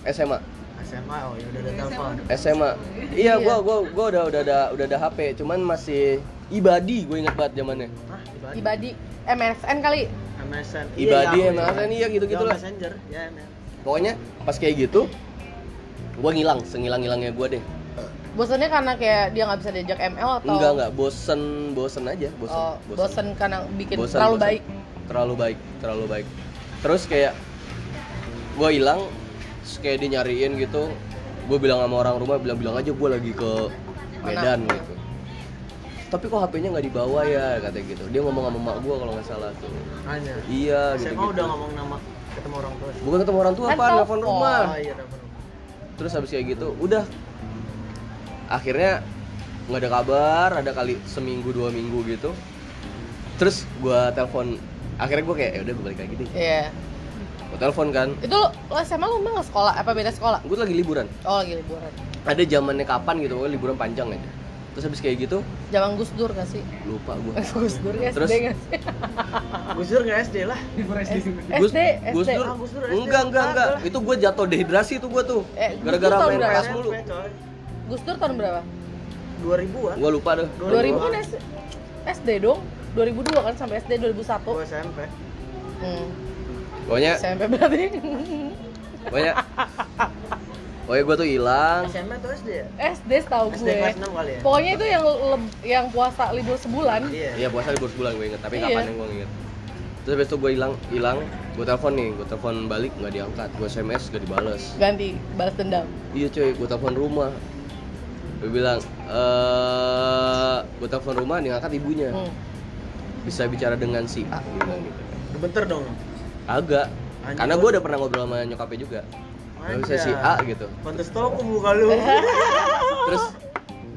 SMA
SMA, oh ya udah ada telepon.
SMA
Iya.
iya gua gua gua udah udah ada udah ada HP cuman masih ibadi gue inget banget zamannya
Hah,
di Badi Eh, MSN kali
MSN.
Ibadi,
Iya, iya,
MSN, iya, gitu-gitu
Iya,
lah.
Messenger, ya men.
pokoknya pas kayak gitu gua ngilang sengilang ngilangnya gua deh
bosannya karena kayak dia nggak bisa diajak ML atau
enggak enggak bosen bosen aja bosen
Oh, bosen. karena bikin
Bosen,
terlalu
bosen.
baik
terlalu baik terlalu baik terus kayak gua hilang terus kayak dia nyariin gitu gue bilang sama orang rumah bilang-bilang aja gua lagi ke Medan
Mana?
gitu tapi kok HP-nya nggak dibawa ya katanya gitu dia ngomong sama mak gue kalau nggak salah tuh
Hanya.
iya gitu,
SMA udah ngomong nama ketemu orang tua. sih.
bukan ketemu orang tua
Kan
apa nelfon
telepon.
rumah
Oh iya, telepon.
terus habis kayak gitu udah akhirnya nggak ada kabar ada kali seminggu dua minggu gitu terus gua telepon akhirnya gua kayak ya udah gua balik lagi deh
Iya.
gua telepon kan
Itu lo, lo SMA lo emang nggak sekolah? Apa beda sekolah?
gua tuh lagi liburan
Oh lagi liburan.
ada zamannya kapan gitu pokoknya liburan panjang aja terus habis kayak gitu
Zaman Gus Dur nggak sih? *laughs*
lupa gua
Gus Dur ya,
Terus?
SD nggak sih?
Gus Dur nggak SD lah.
libur SD dulu.
Gus,
SD,
Gus
SD.
Dur,
Ah, Gus Dur SD.
enggak enggak
Ah,
enggak,
enggak.
itu gua jatuh dehidrasi tuh gua tuh,
Eh, Gus
gara-gara
Dur tahun
main
berapa?
keras mulu,
SMP, coy.
Gus Dur tahun berapa?
2000-an.
gua lupa deh,
2000 kan SD, SD dong. 2002 kan sampai SD 2001.
Gua SMP.
Hmm.
pokoknya
SMP berarti. *laughs*
*laughs*
pokoknya, pokoknya gua tuh hilang,
SMP atau SD ya?
SD setahu
SD
gue.
kelas 6 kali ya?
Pokoknya itu yang leb- yang puasa libur sebulan.
Iya.
Iya puasa libur sebulan gue inget, tapi
Iya.
kapan yang gue inget Terus habis itu gue hilang, hilang, gue telepon nih, gue telepon balik nggak diangkat, gue SMS nggak dibales.
Ganti balas dendam.
Iya cuy, gue telepon rumah. Gue bilang, eh, gue telepon rumah nih angkat ibunya.
Hmm.
Bisa bicara dengan si A. gue bilang gitu.
Bentar dong.
Agak,
Anjing.
karena gue udah pernah ngobrol sama nyokapnya juga. Gak bisa si A gitu.
Pantes tau aku muka
*laughs*
lu.
Terus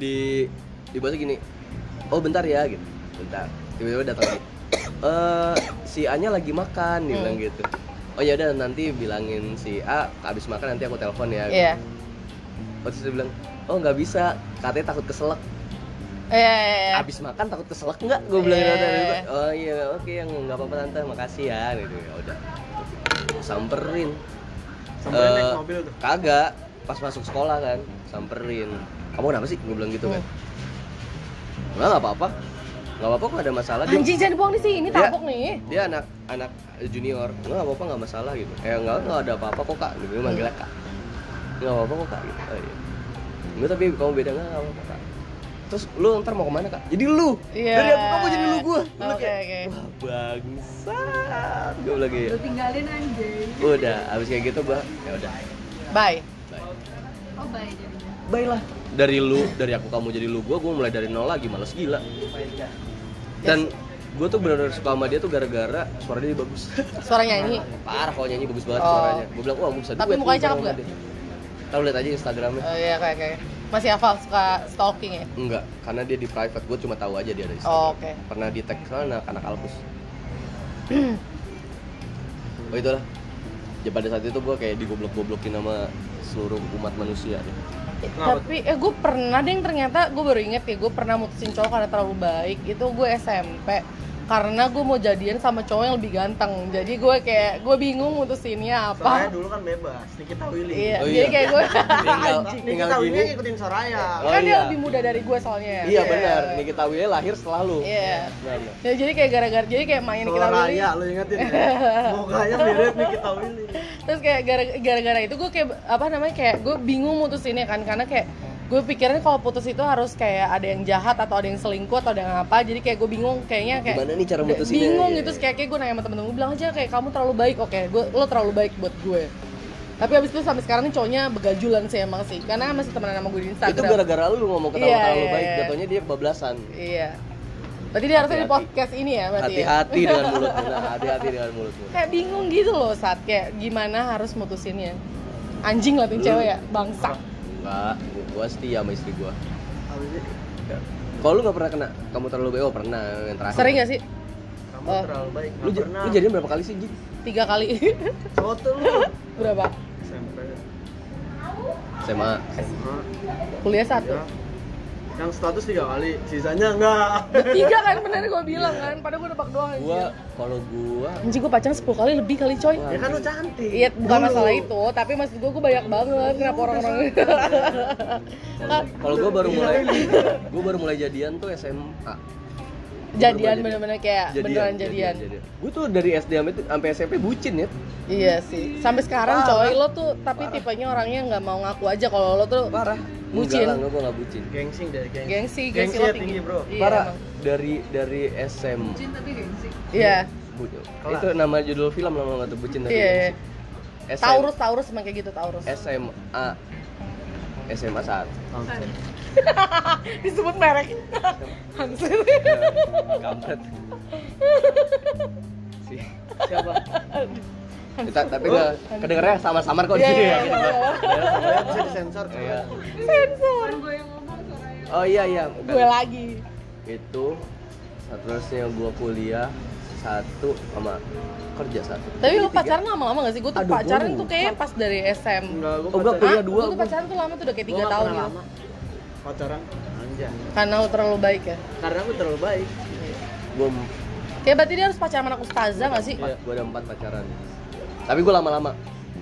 di dibaca gini, oh bentar ya gitu, bentar. Tiba-tiba datang lagi. Eh si A nya lagi makan, dia
Hmm.
bilang gitu. Oh ya udah nanti bilangin si A habis makan nanti aku telepon ya. gitu.
Iya.
Terus dia bilang, oh nggak bisa, katanya takut keselak.
Iya, iya, iya.
Abis makan takut keselak nggak? Gue bilang gitu.
Iya.
Tante. Dia bilang, Oh iya oke yang nggak apa-apa tante, makasih ya. Gitu ya udah. Samperin.
Sampai
Eh,
naik mobil tuh.
Kagak, pas masuk sekolah kan, samperin. Kamu kenapa sih? Gue bilang gitu
Hmm.
kan. Enggak nggak apa-apa. Nggak apa-apa kok ada masalah. Dia,
Anjing jangan dibuang di sini,
Iya.
tabok nih.
dia anak anak junior. Enggak nggak apa-apa nggak masalah gitu. Eh nggak nggak ada apa-apa kok kak. Dia manggilnya kak. Nggak apa-apa kok kak. Gitu. Oh, iya. Enggak tapi kamu beda nggak nggak apa-apa kak. Terus lu ntar mau kemana kak? Jadi lu
Iya.
dari aku kamu jadi lu gue. Lu
Oke,
kayak
oke.
wah bangsat. Gue bilang gitu.
Lu tinggalin anjing.
Udah, abis kayak gitu gua ya udah.
Bye.
Bye.
Oh, bye jadinya.
baiklah dari lu dari aku kamu jadi lu gue gue mulai dari nol lagi males gila
ya,
dan gue tuh bener-bener suka sama dia tuh gara-gara suaranya dia bagus
Suara nyanyi.
parah kalau nyanyi bagus
Oh.
banget suaranya gue bilang wah gue bisa
Tapi
duet nih
mukanya
sama
cakep nggak?
dia. Ntar lu lihat aja instagramnya
Oh iya kayak kayak masih hafal suka stalking ya.
enggak karena dia di private gue cuma tahu aja dia ada di Instagram.
Oh, Oke.
pernah di tag sana anak
*clears throat*
alpus oh itulah ya pada saat itu gue kayak digoblok-goblokin sama seluruh umat manusia
*laughs* Tapi eh gue pernah deh ternyata gue baru inget ya gue pernah mutusin cowok karena terlalu baik itu gue SMP karena gue mau jadian sama cowok yang lebih ganteng jadi gue kayak gue bingung mutusinnya
Soraya
apa
dulu kan bebas, Nikita Willy.
iya, jadi
Oh, Ah. iya.
kayak gue *laughs*
*laughs* tinggal tinggal
Nikita Willy
gini
ngikutin Soraya.
Oh,
kan dia
iya.
lebih muda dari gue soalnya ya.
Iya benar, Nikita Willy lahir selalu.
Iya.
Benar.
Ya, jadi kayak gara-gara jadi kayak main kita beli
Soraya, lu ingetin
*laughs*
ya? Mukanya mirip Nikita Willy.
terus kayak gara- gara-gara itu gue kayak apa namanya kayak gue bingung mutusinnya kan karena kayak gue pikirnya kalau putus itu harus kayak ada yang jahat atau ada yang selingkuh atau ada yang apa jadi kayak gue bingung kayaknya kayak
Gimana nih cara mutusinnya?
bingung
Iya.
gitu kayak kayak gue nanya sama temen-temen gue bilang aja kayak kamu terlalu baik oke gue lo terlalu baik buat gue tapi abis itu sampai sekarang nih cowoknya begajulan sih emang sih karena masih temenan sama gue di Instagram
Itu gara-gara lu ngomong ketawa
Iya,
ketawa lu
iya,
baik,
iya.
jatuhnya dia kebablasan.
iya berarti dia harusnya di
Hati-hati.
podcast ini ya berarti ya?
Hati-hati dengan mulutmu, nah, hati-hati dengan mulutmu.
kayak bingung gitu loh saat kayak gimana harus mutusinnya anjing lah tuh
Lu-
cewek ya bangsa
Enggak, gua- gua setia sama istri gua.
Habisnya
Kalau lu gak pernah kena, kamu terlalu baik, oh pernah yang terakhir.
Ya. sering gak sih
kamu
Oh.
terlalu baik
Lu,
nggak
ja-
pernah
lu jadian berapa kali sih, Ji?
tiga kali *laughs*
cowok tuh lu
berapa
SMP
SMA.
SMA
kuliah satu
ya. yang status tiga kali sisanya enggak
tiga kan bener gue bilang kan padahal gue nebak doang anjing.
Gua kalau gua
anjing gue pacaran 10 kali lebih kali coy
Wah.
ya kan lu cantik
Iya, bukan
Dulu.
masalah itu, tapi maksud gue, gue banyak banget kenapa orang-orang *laughs* itu
kalau- kalau gua baru mulai gua baru mulai jadian tuh SMA.
jadian bener-bener kayak beneran jadian.
Gue tuh dari SD sampai- sampai SMP bucin ya.
Iya sih, sampai sekarang coy lo tuh tapi tipenya orangnya nggak mau ngaku aja kalau lo tuh
Parah.
Oh. Bucin.
Enggak lah, gue gak bucin.
Gangsing deh, gangsing.
gengsi, gengsi, lo tinggi.
bro.
Iya,
Parah.
emang.
Dari dari SM.
Bucin tapi gengsi.
Iya,
Bu-
Kelas.
Itu nama judul film lama gak tuh bucin tapi.
iya. iya.
SM
Taurus, Taurus emang kayak gitu Taurus.
SMA SMA saat
Kan.
Disebut
*laughs*
merek. Hansel.
kampret si
Siapa?
kita tapi nggak kedengerannya sama-samar kok di
Iya,
sini
iya,
ya
iya, iya.
Nggak bisa disensor.
Iya.
coba.
Bukan gue yang ngomong suaranya.
oh iya iya
Gue lagi.
itu seterusnya gua kuliah satu sama kerja satu
Tapi lo
Tiga.
pacaran lama-lama gak sih? Gue tuh
Aduh, gua
pacaran
lupa.
tuh kayaknya pas dari SM.
Enggak,
Oh,
gua
gua
pacaran.
kuliah dua,
Gue tuh
gua.
pacaran tuh lama tuh udah kayak
Gua
tiga
nggak
tahun
pernah
gitu.
lama.
Pacaran. Anjay.
Karena lo terlalu baik ya.
Karena aku terlalu baik.
gua empat
Kayak berarti dia harus pacaran sama anak ustazah gak sih?
gua ada empat pacaran tapi gua lama-lama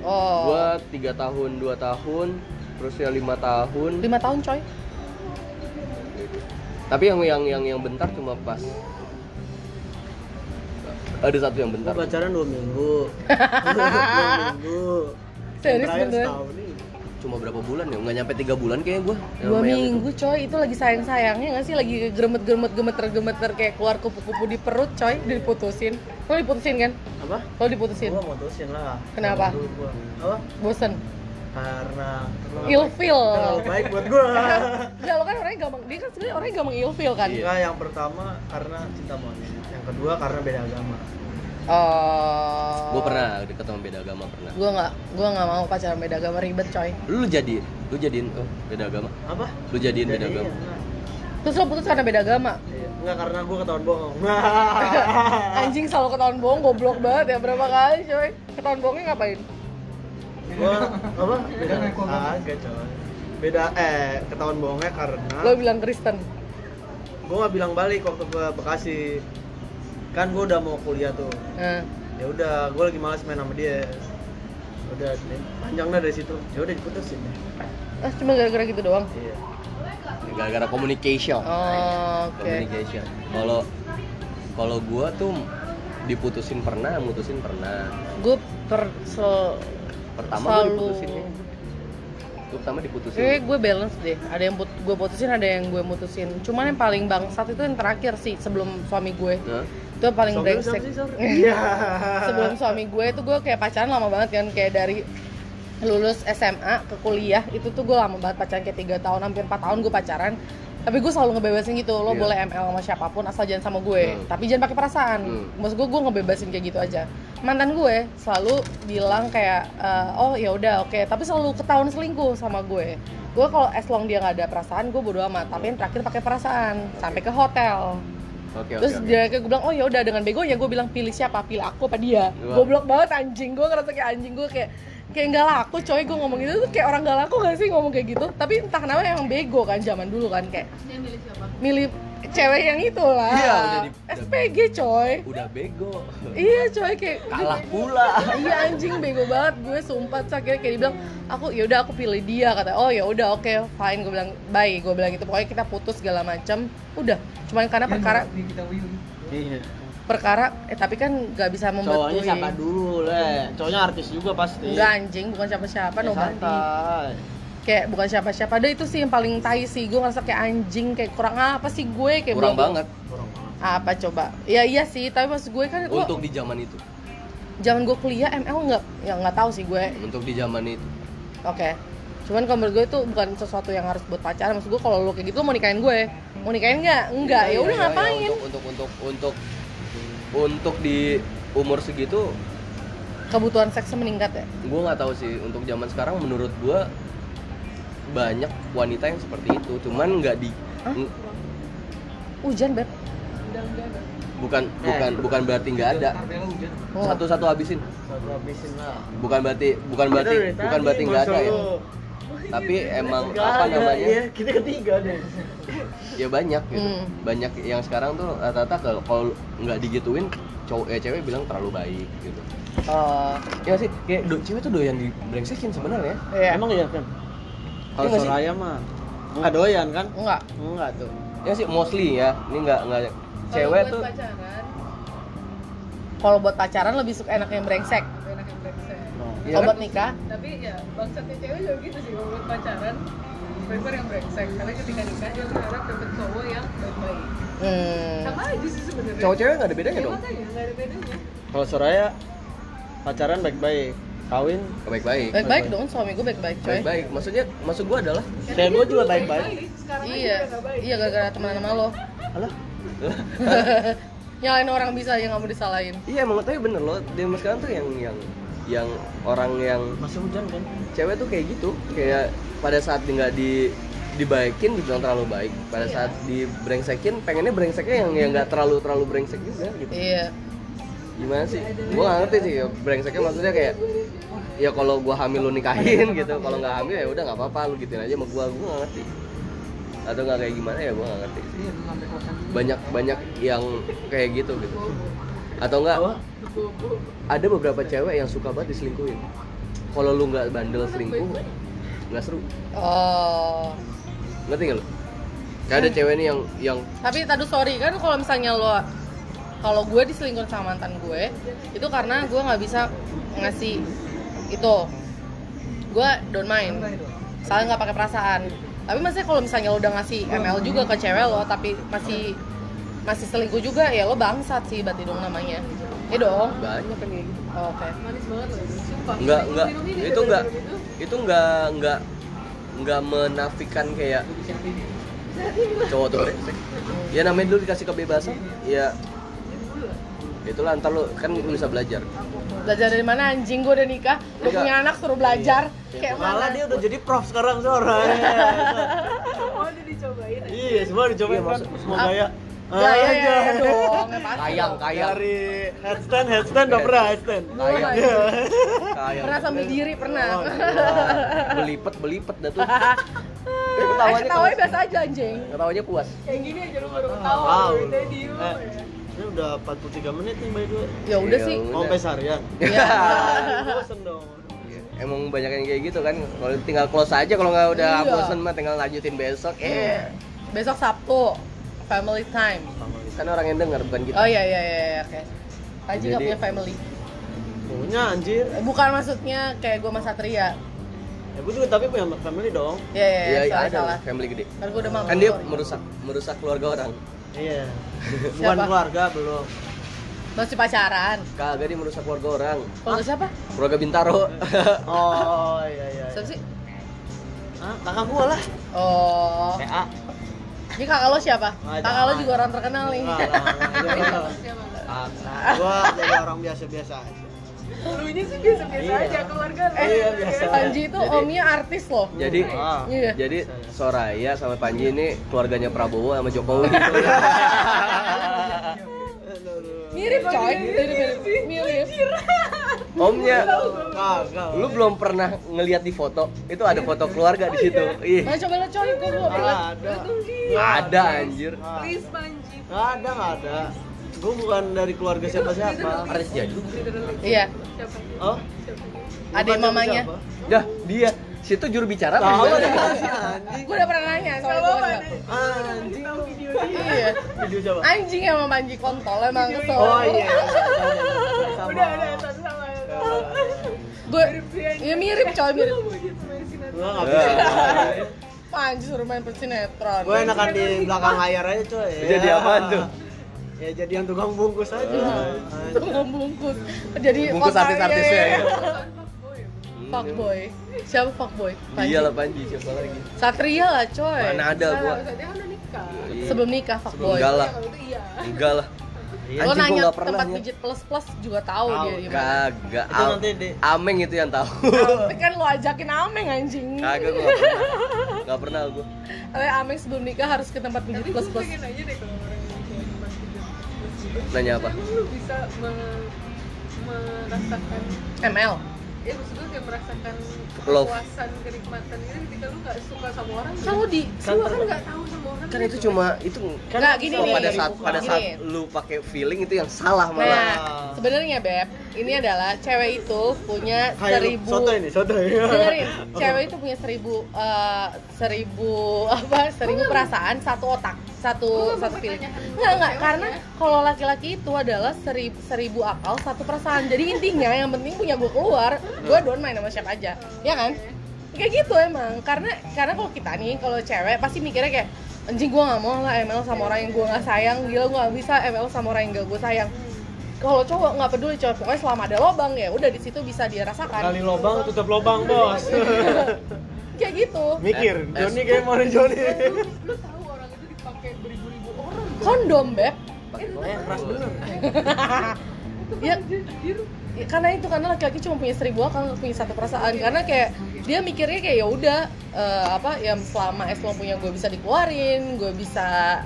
Oh.
gua tiga tahun dua tahun terusnya lima tahun
Lima tahun coy.
Ya, tapi yang yang yang yang bentar cuma pas ada satu yang
Gua
bentar
pacaran dua minggu. dua minggu.
Serius
Terakhir
beneran?
setahun nih.
cuma berapa bulan ya nggak nyampe tiga bulan kayaknya gue
Dua minggu coy, itu lagi sayang-sayangnya gak sih? Lagi geremet-geremet, gemeter-gemeter kayak keluar kupu-kupu di perut coy, diputusin. Lo diputusin kan?
Apa?
Lo diputusin.
Gua mutusin lah.
Kenapa?
Dulu gua. Apa?
Bosen.
Karena terlalu-
*laughs*
Ilfil.
terlalu baik buat gua.
Enggak, lo kan orangnya gampang, dia kan sebenarnya orangnya gampang ilfil kan?
Iya.
Enggak, yang pertama karena cinta monyet. Yang kedua karena beda agama.
Oh.
gue pernah deket sama beda agama pernah
Gue gak, gue gak mau pacaran beda agama ribet coy
lu jadiin lu jadiin oh beda agama
Apa?
lu jadiin beda
Jadinya,
agama
nah.
Terus lo putus karena beda
*laughs*
agama?
Iya. Enggak karena gua ketahuan bohong.
Anjing selalu ketahuan bohong, goblok banget ya berapa kali coy Ketahuan bohongnya ngapain?
gua apa? Beda agak coy. Beda eh ketahuan bohongnya karena
Lo bilang Kristen
gua nggak bilang balik waktu ke Bekasi. Kan gua udah mau kuliah tuh.
Nah.
Ya udah, gua lagi malas main sama dia. Udah panjangnya dari situ. Ya udah diputusin.
Ah, cuma gara-gara gitu doang.
Iya.
gara-gara communication
Oh, oke.
communication kalau kalau gue tuh diputusin pernah mutusin pernah
Gue per sel-
pertama gue
Selalu. Eh.
diputusin ya gue pertama diputusin
Kayaknya gue balance deh. Ada yang put- gue putusin, ada yang gue mutusin. Cuman yang paling bangsat itu yang terakhir sih sebelum suami gue.
Hah?
Itu yang paling
Sobri,
brengsek.
Sobri, Sobri. Iya.
*laughs* Sebelum suami gue itu gue kayak pacaran lama banget kan kayak dari lulus SMA ke kuliah itu tuh gue lama banget pacaran kayak tiga tahun hampir 4 tahun gue pacaran tapi gue selalu ngebebasin gitu lo
Iya.
boleh ML sama siapapun asal jangan sama gue
Hmm.
tapi jangan pakai perasaan
Hmm.
maksud gue gue ngebebasin kayak gitu aja mantan gue selalu bilang kayak eh, oh ya udah oke tapi selalu ketahuan selingkuh sama gue gue kalau as long dia nggak ada perasaan gue bodo amat tapi yang terakhir pakai perasaan sampai ke hotel
oke oke
Terus
oke.
dia kayak gue bilang, oh ya udah dengan begonya gue bilang pilih siapa, pilih aku apa dia.
Wah.
Goblok banget anjing, gue ngerasa kayak anjing gue kayak kayak nggak laku coy gue ngomong gitu tuh kayak orang nggak laku gak sih ngomong kayak gitu tapi entah kenapa emang bego kan zaman dulu kan kayak
Dia milih siapa?
milih cewek yang itulah
Iya, udah di-
SPG coy
udah
*laughs*
bego
iya coy kayak
kalah pula
iya anjing bego banget gue sumpah terus akhirnya kayak dibilang aku ya udah aku pilih dia kata oh ya udah oke fine gue bilang bye gue bilang gitu pokoknya kita putus segala macam udah cuman karena
Iya,
perkara
Ini kita win.
Iya.
perkara eh tapi kan nggak bisa membuat
Cowoknya siapa dulu, Le? Cowoknya artis juga pasti.
Enggak anjing, bukan siapa-siapa
Ya,
nobody.
santai.
kayak bukan siapa-siapa deh itu sih yang paling tai sih gue ngerasa kayak anjing kayak kurang apa sih gue kayak
kurang
bilang,
banget
apa coba ya iya sih tapi maksud gue kan gue
untuk di zaman itu
jangan gue kuliah ML nggak ya nggak tahu sih gue
untuk di zaman itu
oke cuman kalau menurut gue itu bukan sesuatu yang harus buat pacaran maksud gue kalau lo kayak gitu mau nikahin gue mau nikahin nggak nggak ya udah ngapain
Iya, untuk, untuk untuk untuk untuk di umur segitu
kebutuhan seksnya meningkat ya
gue nggak tahu sih untuk zaman sekarang menurut gue banyak wanita yang seperti itu cuman nggak di
Hah?
n-
hujan beb
Udah enggak ada.
bukan bukan
Eh,
bukan berarti nggak ada
Oh.
satu-satu habisin
Satu habisin lah.
bukan berarti bukan berarti
Itu dari
bukan
tadi,
berarti nggak ada
masa
ya
lu.
*laughs*
tapi emang
Nggak
apa
ada,
namanya
iya, kita ketiga deh.
ya banyak gitu
Hmm.
banyak yang sekarang tuh rata-rata kalau- kalau nggak digituin cowok eh, cewek bilang terlalu baik gitu
oh
ya nggak sih kayak do, cewek tuh doyan dibrengsekin sebenarnya
iya
Emang iya kan?
Iya
Kalau
nggak sih?
Soraya mah nggak doyan kan?
enggak
Enggak tuh.
ya sih mostly ya ini nggak nggak cewek tuh
pacaran,
kalau buat pacaran lebih suka enak yang brengsek
enak yang brengsek.
No.
Iya
kalau
kan?
buat nikah
Tapi ya bangsatnya cewek juga gitu sih kalau buat pacaran prefer yang brengsek karena ketika nikah dia berharap dapet cowok yang baik-baik.
hmm.
Sama aja sih sebenarnya.
cowok cewek nggak ada bedanya
ya,
dong
makanya nggak ada bedanya.
Kalau Soraya pacaran baik-baik, kawin
Kan baik-baik
baik-baik dong suami gue baik-baik coy
baik-baik maksudnya maksud gua adalah
Karena
Cewek
dia
gua juga
dulu
baik-baik.
Sekarang aja
iya
udah nggak baik.
iya gara-gara teman sama lo
Alah.
*laughs* nyalain orang bisa aja nggak mau disalahin
iya emang tapi bener loh zaman sekarang tuh yang yang yang orang yang
masih hujan kan?
cewek tuh kayak gitu kayak pada saat di- nggak di dibaikin dibilang terlalu baik pada saat dibrengsekin pengennya brengseknya yang yang nggak terlalu terlalu brengsek juga gitu
iya
gimana sih gua nggak ngerti sih ya, brengseknya maksudnya kayak ya kalau gua hamil lu nikahin *laughs* gitu kalau nggak hamil ya udah nggak apa-apa lu gituin aja sama gua gua nggak ngerti atau nggak kayak gimana ya gua nggak ngerti sih banyak banyak yang kayak gitu gitu atau enggak
Apa?
ada beberapa cewek yang suka banget diselingkuhin kalau lu nggak bandel selingkuh nggak seru
oh
ngerti nggak lu kayak ada cewek nih yang yang
tapi tadi sorry kan kalau misalnya lo kalau gue diselingkuhin sama mantan gue itu karena gue nggak bisa ngasih itu gue don't mind soalnya nggak pakai perasaan tapi maksudnya kalau misalnya lo udah ngasih ML juga ke cewek lo tapi masih masih selingkuh juga ya lo bangsat sih berarti dong namanya ya dong
banyak kan kayak gitu
Oh, oke
Manis banget loh itu. Sumpah.
nggak
Minum
nggak
ini juga
itu nggak
gara-gara itu.
itu nggak nggak nggak menafikan kayak cowok tuh brengsek. ya namanya dulu dikasih kebebasan ya itulah ntar lu kan lu bisa belajar
belajar dari mana anjing gue udah nikah udah
Enggak.
punya anak suruh belajar kayak mana
Iya. Malah dia udah jadi prof sekarang Soraya.
Oh,
Semua udah dicobain. aja.
iya, semua dicobain
Iya,
kan.
maksud-
Semua
Ap-
gaya.
ya ya ya,
Aja.
ya dong ya pasti
kayang
dong.
kayang
Dari headstand, headstand udah pernah headstand.
Belum
Kayang.
aja.
kayang
pernah sambil diri pernah
Oh,
iya.
*laughs*
belipet belipet dah tuh
Eh,
ketawanya
ketawanya
puas.
biasa aja anjing
ketawanya puas
Kayak gini aja lu baru
Ah.
Oh,
ketawa.
Wow.
lu udah diem,
Eh,
ya.
Ini udah 43 menit nih by the way.
ya udah sih
Mau sampai seharian.
Iya. *laughs*
ya
Bosen dong.
emang banyak yang kayak gitu kan kalau tinggal close aja kalau nggak udah
Iya.
bosen mah tinggal lanjutin besok eh
besok Sabtu family time
kan orang yang denger bukan kita
oh iya iya iya iya, oke Aji nggak
Jadi-
punya family
Punya anjir.
Eh, bukan maksudnya kayak gue sama Satria
Ya gue juga tapi punya family dong.
ya ya ya,
Iya, iya,
salah
ada
salah
lah, family gede.
ntar gue udah mampu
Kan dia merusak merusak keluarga orang.
Iya. Bukan
Siapa?
keluarga belum.
masih pacaran
Kagak dia merusak keluarga orang.
kalau siapa
Keluarga Bintaro.
Oh iya iya.
siapa sih
Ah, kakak gua lah.
oh
Eh.
PA.
ini kakak lo siapa
Ah,
kakak lo
jangan.
juga orang terkenal nih
Enggak lah, enggak, enggak lah.
Siapa?
Gua jadi orang biasa-biasa aja.
Lunya sih biasa-biasa
Iya.
aja keluarga lu.
Eh,
Iya, biasa.
Panji itu
Jadi-
omnya artis loh
jadi
Ah.
Iya.
*laughs* jadi Soraya sama Panji ini keluarganya Prabowo sama Jokowi. *laughs*
Aduh, aduh.
mirip coy mirip mirip mirip
Omnya
Kagak.
lu belum pernah ngelihat di foto. Itu ada foto keluarga di situ. Ih,
Nah, coba lo coy gue belum
Nggak
Ah.
pernah
ada.
nggak ada anjir.
Nggak
gitu? Please Panji.
Nggak ada, nggak ada. Gua bukan dari keluarga siapa-siapa.
Artis jadi.
iya
Siapa?
Oh,
ada
bukan
mamanya
siapa-siapa.
Dah, dia situ juru bicara.
Tahu
Panji.
ada si anjing.
gue udah pernah nanya soalnya gue nggak
Anjing lu.
iya
Video siapa?
anjing emang Panji kontol emang kesel
Oh iya. Sama.
Udah, udah, satu sama.
Sama.
gue ya mirip coy mirip
Mau gitu main sinetron.
Gua nggak
Iya.
bisa.
Panji suruh main persinetron.
Gua enakan di belakang layar aja coy.
Jadi
Ya.
apaan tuh?
Ya jadi yang tukang bungkus aja.
Tukang bungkus. *laughs* Jadi
Bungkus
otak-
artis-artisnya
iya,
ya.
iya. Fuckboy. Siapa fuckboy? Panji.
Iya lah Panji, siapa lagi?
Satria lah coy.
Mana ada gua.
Dia kan udah nikah.
Iya,
Sebelum nikah
Sebelum
fuckboy.
enggak lah.
Kalau itu iya.
Enggak lah.
Lo
Anjing, gua
nanya
nggak pernah
tempat
ya.
pijit plus plus juga tahu
Tahu,
dia di mana.
Kagak.
Itu
Am-
nanti di-
Ameng itu yang
*laughs*
tahu.
Tapi kan lo ajakin Ameng anjing.
Kagak gua nggak pernah. Nggak pernah gua.
Tapi Ameng sebelum Eh, nikah harus ke tempat pijit
Tapi
plus
gue
plus.
pengen aja deh kalau orang Indonesia yang pas hidup.
Nanya apa?
gitu. Emang lu bisa me- merasakan
ML.
ya maksud gue kayak merasakan
Love.
kepuasan kenikmatan gitu ketika lu gak suka sama orang
Kan lo di
kan lu kan gak tahu sama orang
Kan
gitu.
itu cuma itu
Kan
Nggak, gini nih.
pada saat pada saat
Gini.
lu pakai feeling itu yang salah malah.
Nah, sebenarnya Beb, ini adalah cewek itu punya
Hai, lu,
seribu
Soto
ya.
ini, soto.
dengerin cewek itu punya seribu eh, seribu apa seribu perasaan satu otak satu
Gua nggak
satu
mau
feeling
pertanyaan
nggak nggak
cewek
karena
ya.
kalau laki-laki itu adalah seribu, seribu akal satu perasaan jadi intinya yang penting punya gue keluar gue doan main sama siapa aja ya kan kayak gitu emang karena karena kalau kita nih kalau cewek pasti mikirnya kayak anjing gue nggak mau lah ML sama orang yang gue nggak sayang gila gue nggak bisa ML sama orang yang gak gue sayang kalau cowok nggak peduli cowok pokoknya selama ada lobang ya udah di situ bisa dia rasakan
Kali lobang tutup lobang, *laughs* Bos.
kayak gitu
Mikir, Joni kayak mau Joni.
lu, lu tahu orang itu dipakai beribu-ribu orang
kondom beb
Eh, keras bener.
*laughs* ya, ya, karena itu karena laki-laki cuma punya seribu akal nggak punya satu perasaan karena kayak dia mikirnya kayak ya udah eh, apa ya selama es lo punya gue bisa dikeluarin gue bisa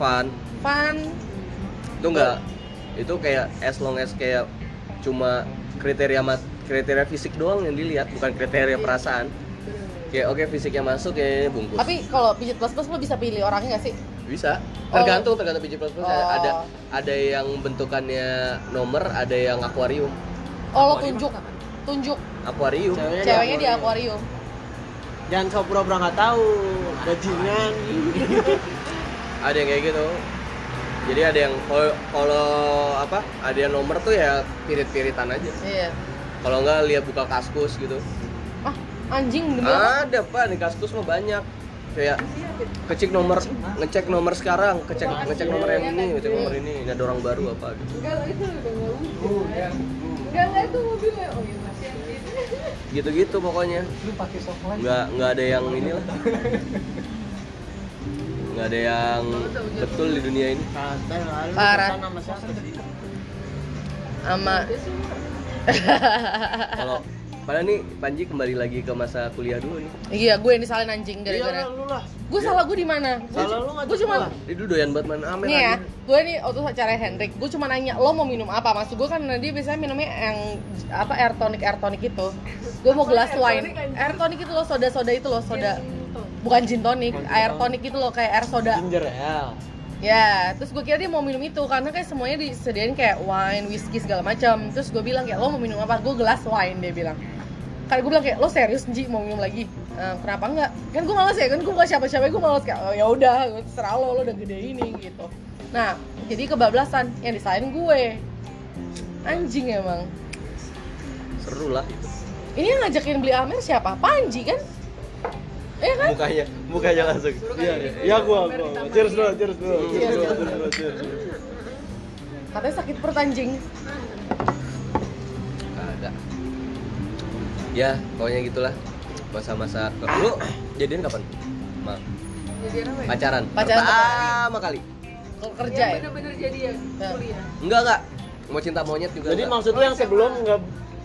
Fun.
fun
itu enggak itu kayak as long as kayak cuma kriteria mat kriteria fisik doang yang dilihat bukan kriteria perasaan kayak oke fisiknya masuk ya bungkus
tapi kalau pijit plus plus lo bisa pilih orangnya nggak sih
bisa
Oh.
tergantung tergantung biji plus plus ada
Oh.
ada- ada yang bentukannya nomor ada yang akuarium
oh lo
Aquarium.
tunjuk tunjuk
akuarium
Ceweknya
ceweknya di akuarium
Jangan sok pura-pura nggak tahu. Bajingan.
ada yang kayak gitu jadi ada yang kalau- kalau apa ada yang nomor tuh ya pirit-piritan aja
iya
kalau enggak lihat buka kaskus gitu
ah anjing demi apa?
ada pak di kaskus mah banyak kayak kecek nomor ngecek nomor sekarang ngecek ngecek nomor yang ini ngecek nomor ini ini ada orang baru apa gitu
enggak lah itu udah gak
Oh,
wujud
iya.
enggak lah itu mobilnya oh iya masih
gitu gitu pokoknya
Lu pakai soft lagi.
nggak nggak ada yang inilah nggak ada yang betul di dunia ini
Santai lah, lu
Parah.
pesan sama siapa sih?
sama
kalau padahal nih Panji kembali lagi ke masa kuliah dulu nih
iya gue yang disalahin anjing
Iya lah,
gara-gara
lu lah.
gue salah gue di mana Gue-
Salah lu ngajak
gue cuma
gua.
dia dulu doyan banget main amer
Nih ya,
anjing.
gue nih waktu acara Hendrik, gue cuma nanya lo mau minum apa? Maksud gue kan dia biasanya minumnya yang apa air tonic air tonic itu. Gue mau gelas wine. Air tonic Iya, itu loh, soda soda itu loh, soda. Bukan gin tonic, air tonic itu loh kayak air soda.
Ginger ale.
Ya, terus gue kira dia mau minum itu karena kayak semuanya disediain kayak wine, whiskey segala macam. Terus gue bilang kayak lo mau minum apa? Gue gelas wine dia bilang. Kan gue bilang kayak lo serius Ji mau minum lagi? "Eh, kenapa enggak? Kan gue malas ya, kan gue gak siapa-siapa, gue malas kayak oh, ya udah, gua terserah lo, lo udah gede ini gitu. Nah, jadi kebablasan yang disalahin gue. Anjing emang.
seru lah itu
Ini yang ngajakin beli Amer siapa? Panji kan? Iya kan?
mukanya mukanya langsung
Iya, iya. Iya, gua, gua. Cheers dulu, cheers dulu. Cheers dulu, cheers dulu, cheers dulu.
Katanya sakit perut anjing.
ada ya pokoknya gitulah masa-masa lu jadian kapan Ma,
jadi apa ya
pacaran
Pacaran
pertama kali
Kalau
ya
kerja ya.
bener-bener jadi ya
Ya.
kuliah
enggak enggak mau cinta monyet juga
Jadi
enggak.
maksud lu yang sebelum nggak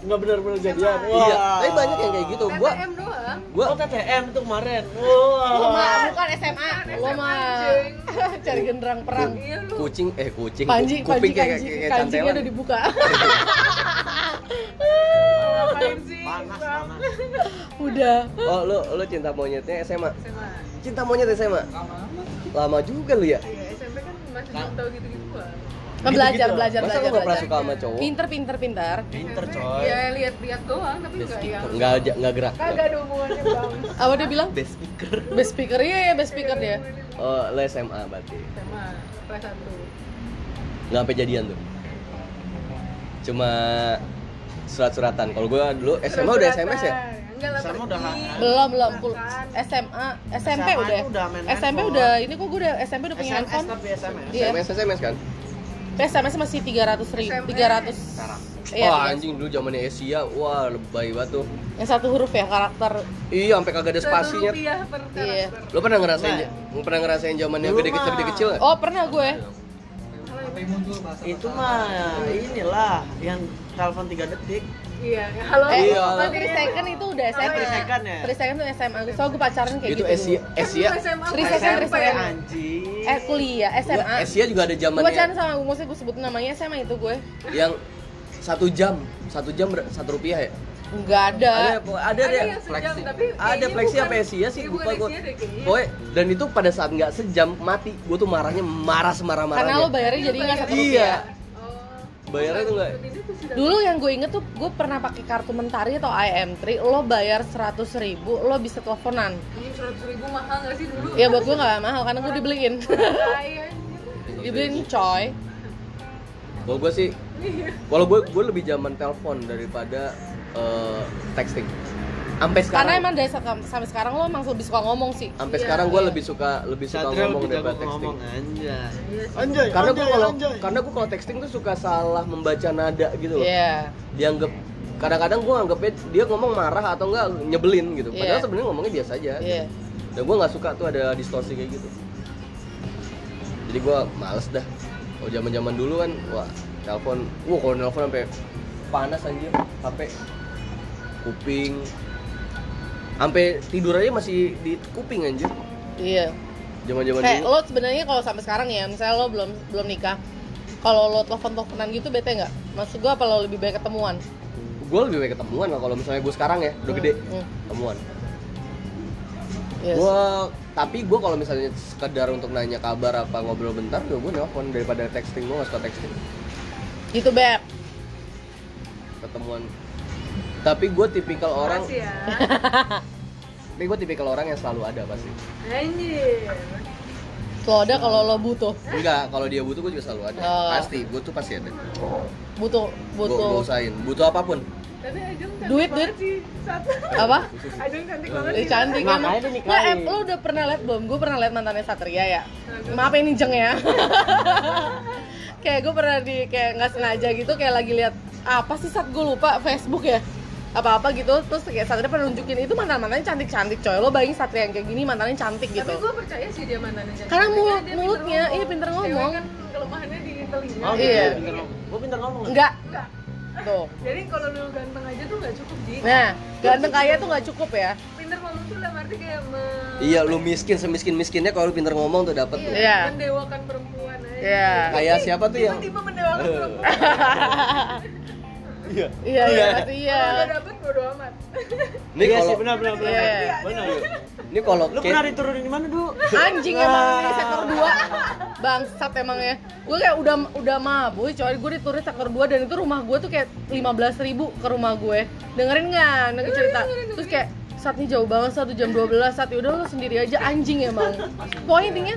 nggak benar-benar jadian. Wah.
iya tapi banyak yang kayak gitu gua
TTM doang
gua
Oh, TTM tuh kemarin.
Lo
Oh.
mah
Wah.
bukan SMA, lo
SMA,
mah
anjing.
*laughs* cari genderang perang.
iya lu
kucing eh kucing
Panji,
kuping
panji,
kayak
kanji,
kayak kayak
kanjinya
cantelan.
udah
*laughs*
dibuka. *laughs*
ngapain sih
Panas,
Bang?
panas.
udah.
oh lu lu cinta monyetnya SMA
SMA
cinta monyet SMA lama juga lu ya
iya SMP kan masih belum tahu gitu-gitu gua
Nah, belajar,
lah.
belajar,
masa
belajar,
lu gak pernah
belajar.
suka sama cowok
Pinter, pinter, pinter.
Pinter,
SMP,
coy.
ya lihat-lihat doang tapi enggak yang
nggak aja nggak gerak
kagak ada hubungannya bang
Apa dia Ah, bilang?
best speaker
Best speaker, iya, iya, best speaker dia.
oh lu SMA berarti
SMA kelas satu
nggak sampai jadian tuh cuma surat-suratan kalau gue dulu SMA udah
Surat-suratan,
SMS ya
ya. Enggak lah
Sama
pergi.
udah hangat.
belum belum kul-
Makan.
SMA SMP
SMA
udah
tuh udah main
SMP
handphone.
udah ini kok gue udah SMP udah punya
SMS
handphone Eh,
tapi SMS.
Iya.
SMS SMS kan?
SMS masih 300 ribu 300
SMS.
sekarang
iya 300.
wah Oh, anjing dulu zamannya Asia, wah lebay banget tuh.
yang satu huruf ya karakter
Iya, sampai kagak ada
Satu
spasinya.
rupiah per
Iya.
karakter.
Lo pernah ngerasain
Nah.
pernah ngerasain zamannya
Dulu
gede kecil
mah.
gede kecil nggak?
oh pernah gue
itu mah inilah yang telepon 3 detik
Iya. Halo.
Eh,
Iya.
kalau 3 second itu udah SMA. 3
second ya?
3 second tuh SMA. Soalnya gue pacaran kayak
itu
gitu.
Asia
dulu.
Asia.
SMA,
Three second, three
SMP.
second.
anjing
Eh kuliah SMA.
Wah, Iya, Asia juga ada
Gue pacaran
zamannya
sama gue, maksudnya gue sebut namanya SMA itu gue.
yang satu jam, satu jam ber- satu rupiah ya?
Enggak ada.
Ada ada
Eh, Ada
deh.
yang sejam, tapi
Ada
kayaknya
fleksi
bukan-
apa Asia sih
iya,
lupa
bukan
gue.
Asia deh kayaknya.
Pokoknya, dan itu pada saat nggak sejam mati, gue tuh marahnya marah semarah
Karena lo
marahnya.
bayarnya jadi nggak satu
Iya.
rupiah.
Oh.
Bayarnya tuh nggak.
Ini tuh sudah-
Dulu yang gue inget tuh gue pernah pakai kartu Mentari atau IM3, lo bayar 100 ribu, lo bisa teleponan.
Ini 100 ribu mahal nggak sih dulu?
Ya buat gue nggak mahal karena gue dibeliin. *laughs*
Tai, anjir.
dibeliin coy.
Kalau gue sih, kalau gue gue lebih zaman telepon daripada eh, texting. Sampai sekarang.
Karena emang dari sa- sampai sekarang lo emang lebih suka ngomong sih.
sampai
Iya.
sekarang gue lebih suka lebih suka
Satria
ngomong
lebih jago
daripada texting.
ngomong ya. anjay
Iya
Iya,
Anjay,
Karena gue
anjay,
kalau
anjay.
karena gue kalau texting tuh suka salah membaca nada gitu loh.
Iya.
Dianggap kadang-kadang gue anggapnya dia ngomong marah atau enggak nyebelin gitu. Padahal
Iya.
sebenarnya ngomongnya biasa aja.
Iya.
Dan gue nggak suka tuh ada distorsi kayak gitu. Jadi gue males dah. Kalau zaman-zaman dulu kan, wah telepon, wah kalau telepon sampai panas anjir, HP, kuping, sampai tidur aja masih di kuping anjir.
Iya.
Zaman-zaman
Kayak
dulu.
lo sebenarnya kalau sampai sekarang ya, misalnya lo belum belum nikah, kalau lo telepon-teleponan gitu bete nggak? Maksud gua apa lo lebih baik ketemuan?
gue lebih baik ketemuan lah kalau misalnya gue sekarang ya udah gede
Hmm,
ketemuan
yes.
gue tapi gue kalau misalnya sekedar untuk nanya kabar apa ngobrol bentar gue gue nelfon daripada texting gue nggak suka texting
Gitu beb.
ketemuan tapi gue tipikal orang
Makasih ya.
tapi gue tipikal orang yang selalu ada pasti
Anjir.
Lo ada kalau lo butuh,
enggak kalau dia butuh gue juga selalu ada
Oh.
pasti gue tuh pasti ada
butuh,
gue
butuh.
usahain butuh apapun
Tapi Ajeng cantik
Duit,
banget
duit.
sih. Satu.
Apa?
Ajeng cantik banget
Ih, Eh,
sih.
cantik
Makanya
emang.
dia nikahin.
Nggak, em, lo udah pernah liat belum? Gue pernah liat mantannya Satria ya. Maaf ini jeng ya. *laughs* kayak gue pernah di kayak nggak sengaja gitu kayak lagi liat apa sih saat gue lupa Facebook ya apa-apa gitu terus kayak Satria pernah nunjukin itu mantan mantannya cantik cantik coy lo bayangin Satria yang kayak gini mantannya cantik gitu
Tapi gue percaya sih dia mantannya cantik.
Karena
Tapi
mulut-
dia pinter
mulutnya, iya, pinter ngomong.
Cewek kan kelemahannya di telinga.
oh
gitu. Iya.
pintar ngomong gue pintar ngomong nggak?
Enggak. Tuh.
Jadi kalau lu ganteng aja tuh nggak cukup Ji.
Nah, ganteng kaya tuh nggak cukup ya.
Pinter ngomong tuh dalam arti kayak me...
iya lu miskin semiskin miskinnya kalau lu pinter ngomong tuh dapet
Iya,
tuh
Iya.
Mendewakan perempuan aja.
Iya.
kayak siapa tuh yang
Tiba-tiba mendewakan
Eh.
perempuan.
iya
Iya, iya, pasti *laughs* iya.
Kalau nggak dapet bodo
*laughs*
amat.
ini
iya
kalau
sih benar benar benar
Iya.
benar
ini kalau
lu
Kate-
pernah diturunin di mana dulu
Anjing emang ini sektor 2. Bangsat emang ya. Gue kayak udah udah mabuk, coy. Gue dituris sektor 2 dan itu rumah gue tuh kayak 15.000 ribu ke rumah gue. Dengerin nggak? Nanti cerita. Terus kayak saatnya jauh banget satu jam 12 saat udah lo sendiri aja anjing emang pokoknya intinya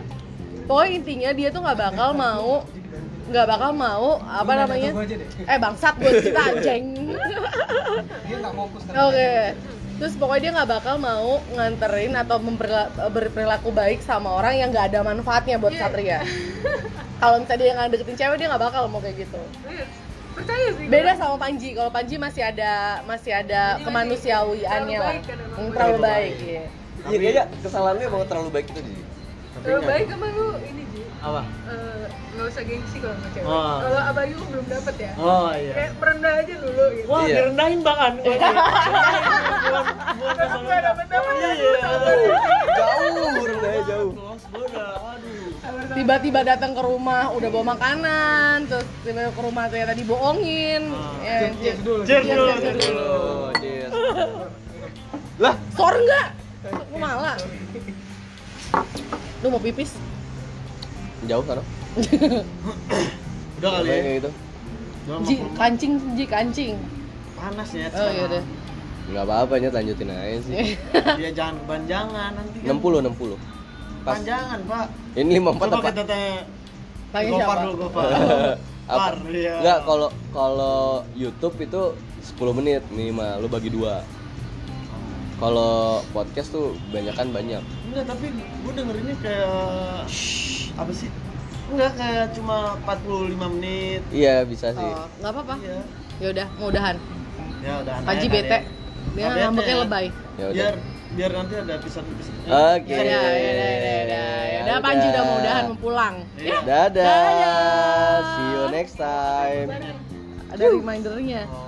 pokoknya intinya dia tuh nggak bakal mau nggak bakal mau apa namanya eh bangsat gue cerita anjing Oke. Terus pokoknya dia nggak bakal mau nganterin atau memperla- berperilaku baik sama orang yang nggak ada manfaatnya buat Satria. Kalau misalnya dia nggak deketin cewek dia nggak bakal mau kayak gitu.
Iya. Percaya sih. gua.
Beda sama Panji. Kalau Panji masih ada masih ada
Panji masih
kemanusiaannya
terlalu
lah.
baik kan emang.
Hmm, terlalu baik. Iya.
iya kayaknya kesalahannya mau terlalu baik itu jadi
Kalau baik sama lu ini Ji.
apa
Eh, nggak usah gengsi kalau sama cewek.
Oh.
Kalau abayu belum dapet ya.
oh iya
Kayak merendah aja dulu gitu.
Wah,
Iya.
direndahin bahkan. Bukan, bukan
Tapi
sama
gak
rendah.
dapet dapet
Iya,
dapet,
iya.
dapet.
jauh rendahnya jauh
Close, gua
Iya,
udah, aduh.
Tiba-tiba datang ke rumah udah bawa makanan, terus tiba-tiba ke rumah ternyata dibohongin.
Ah.
Ya, anjing.
Cheers dulu,
cheers
cheers
dulu.
dulu.
Yes.
Sor nggak? Aku malah. Lu mau pipis?
Jauh kan?
Udah kali ya.
Kayak gitu.
Udah, mau
Ji,
ke rumah.
kancing, Ji, kancing.
Panas ya.
Oh, iya deh.
Enggak apa-apa nyet lanjutin aja sih.
Eh. Dia jangan kepanjangan nanti. kan.
60 60. Pas.
Panjangan, Pak.
Ini 54
Coba
apa?
kita tanya
Tanya
Gopar
siapa?
dulu,
*laughs*
Gopar. Par, iya.
Enggak, kalau kalau YouTube itu 10 menit minimal, lu bagi dua. Kalau podcast tuh banyak kan banyak.
Enggak, tapi gue dengerinnya kayak apa sih? Enggak kayak cuma 45 menit.
Iya bisa sih.
Oh, nggak apa-apa.
Iya.
Ya udah, mudahan.
Ya udah.
Haji
aneh-aneh.
bete. Dia
Oh, bete.
ngambeknya lebay.
Ya udah.
Biar biar nanti ada episode episode.
Oke.
Ya udah,
iya,
ya udah, ya udah, ya udah. Panji udah mau udahan mau pulang. Ya.
Iya.
Dadah.
Dadah.
See you next time.
Ada remindernya.
Oh.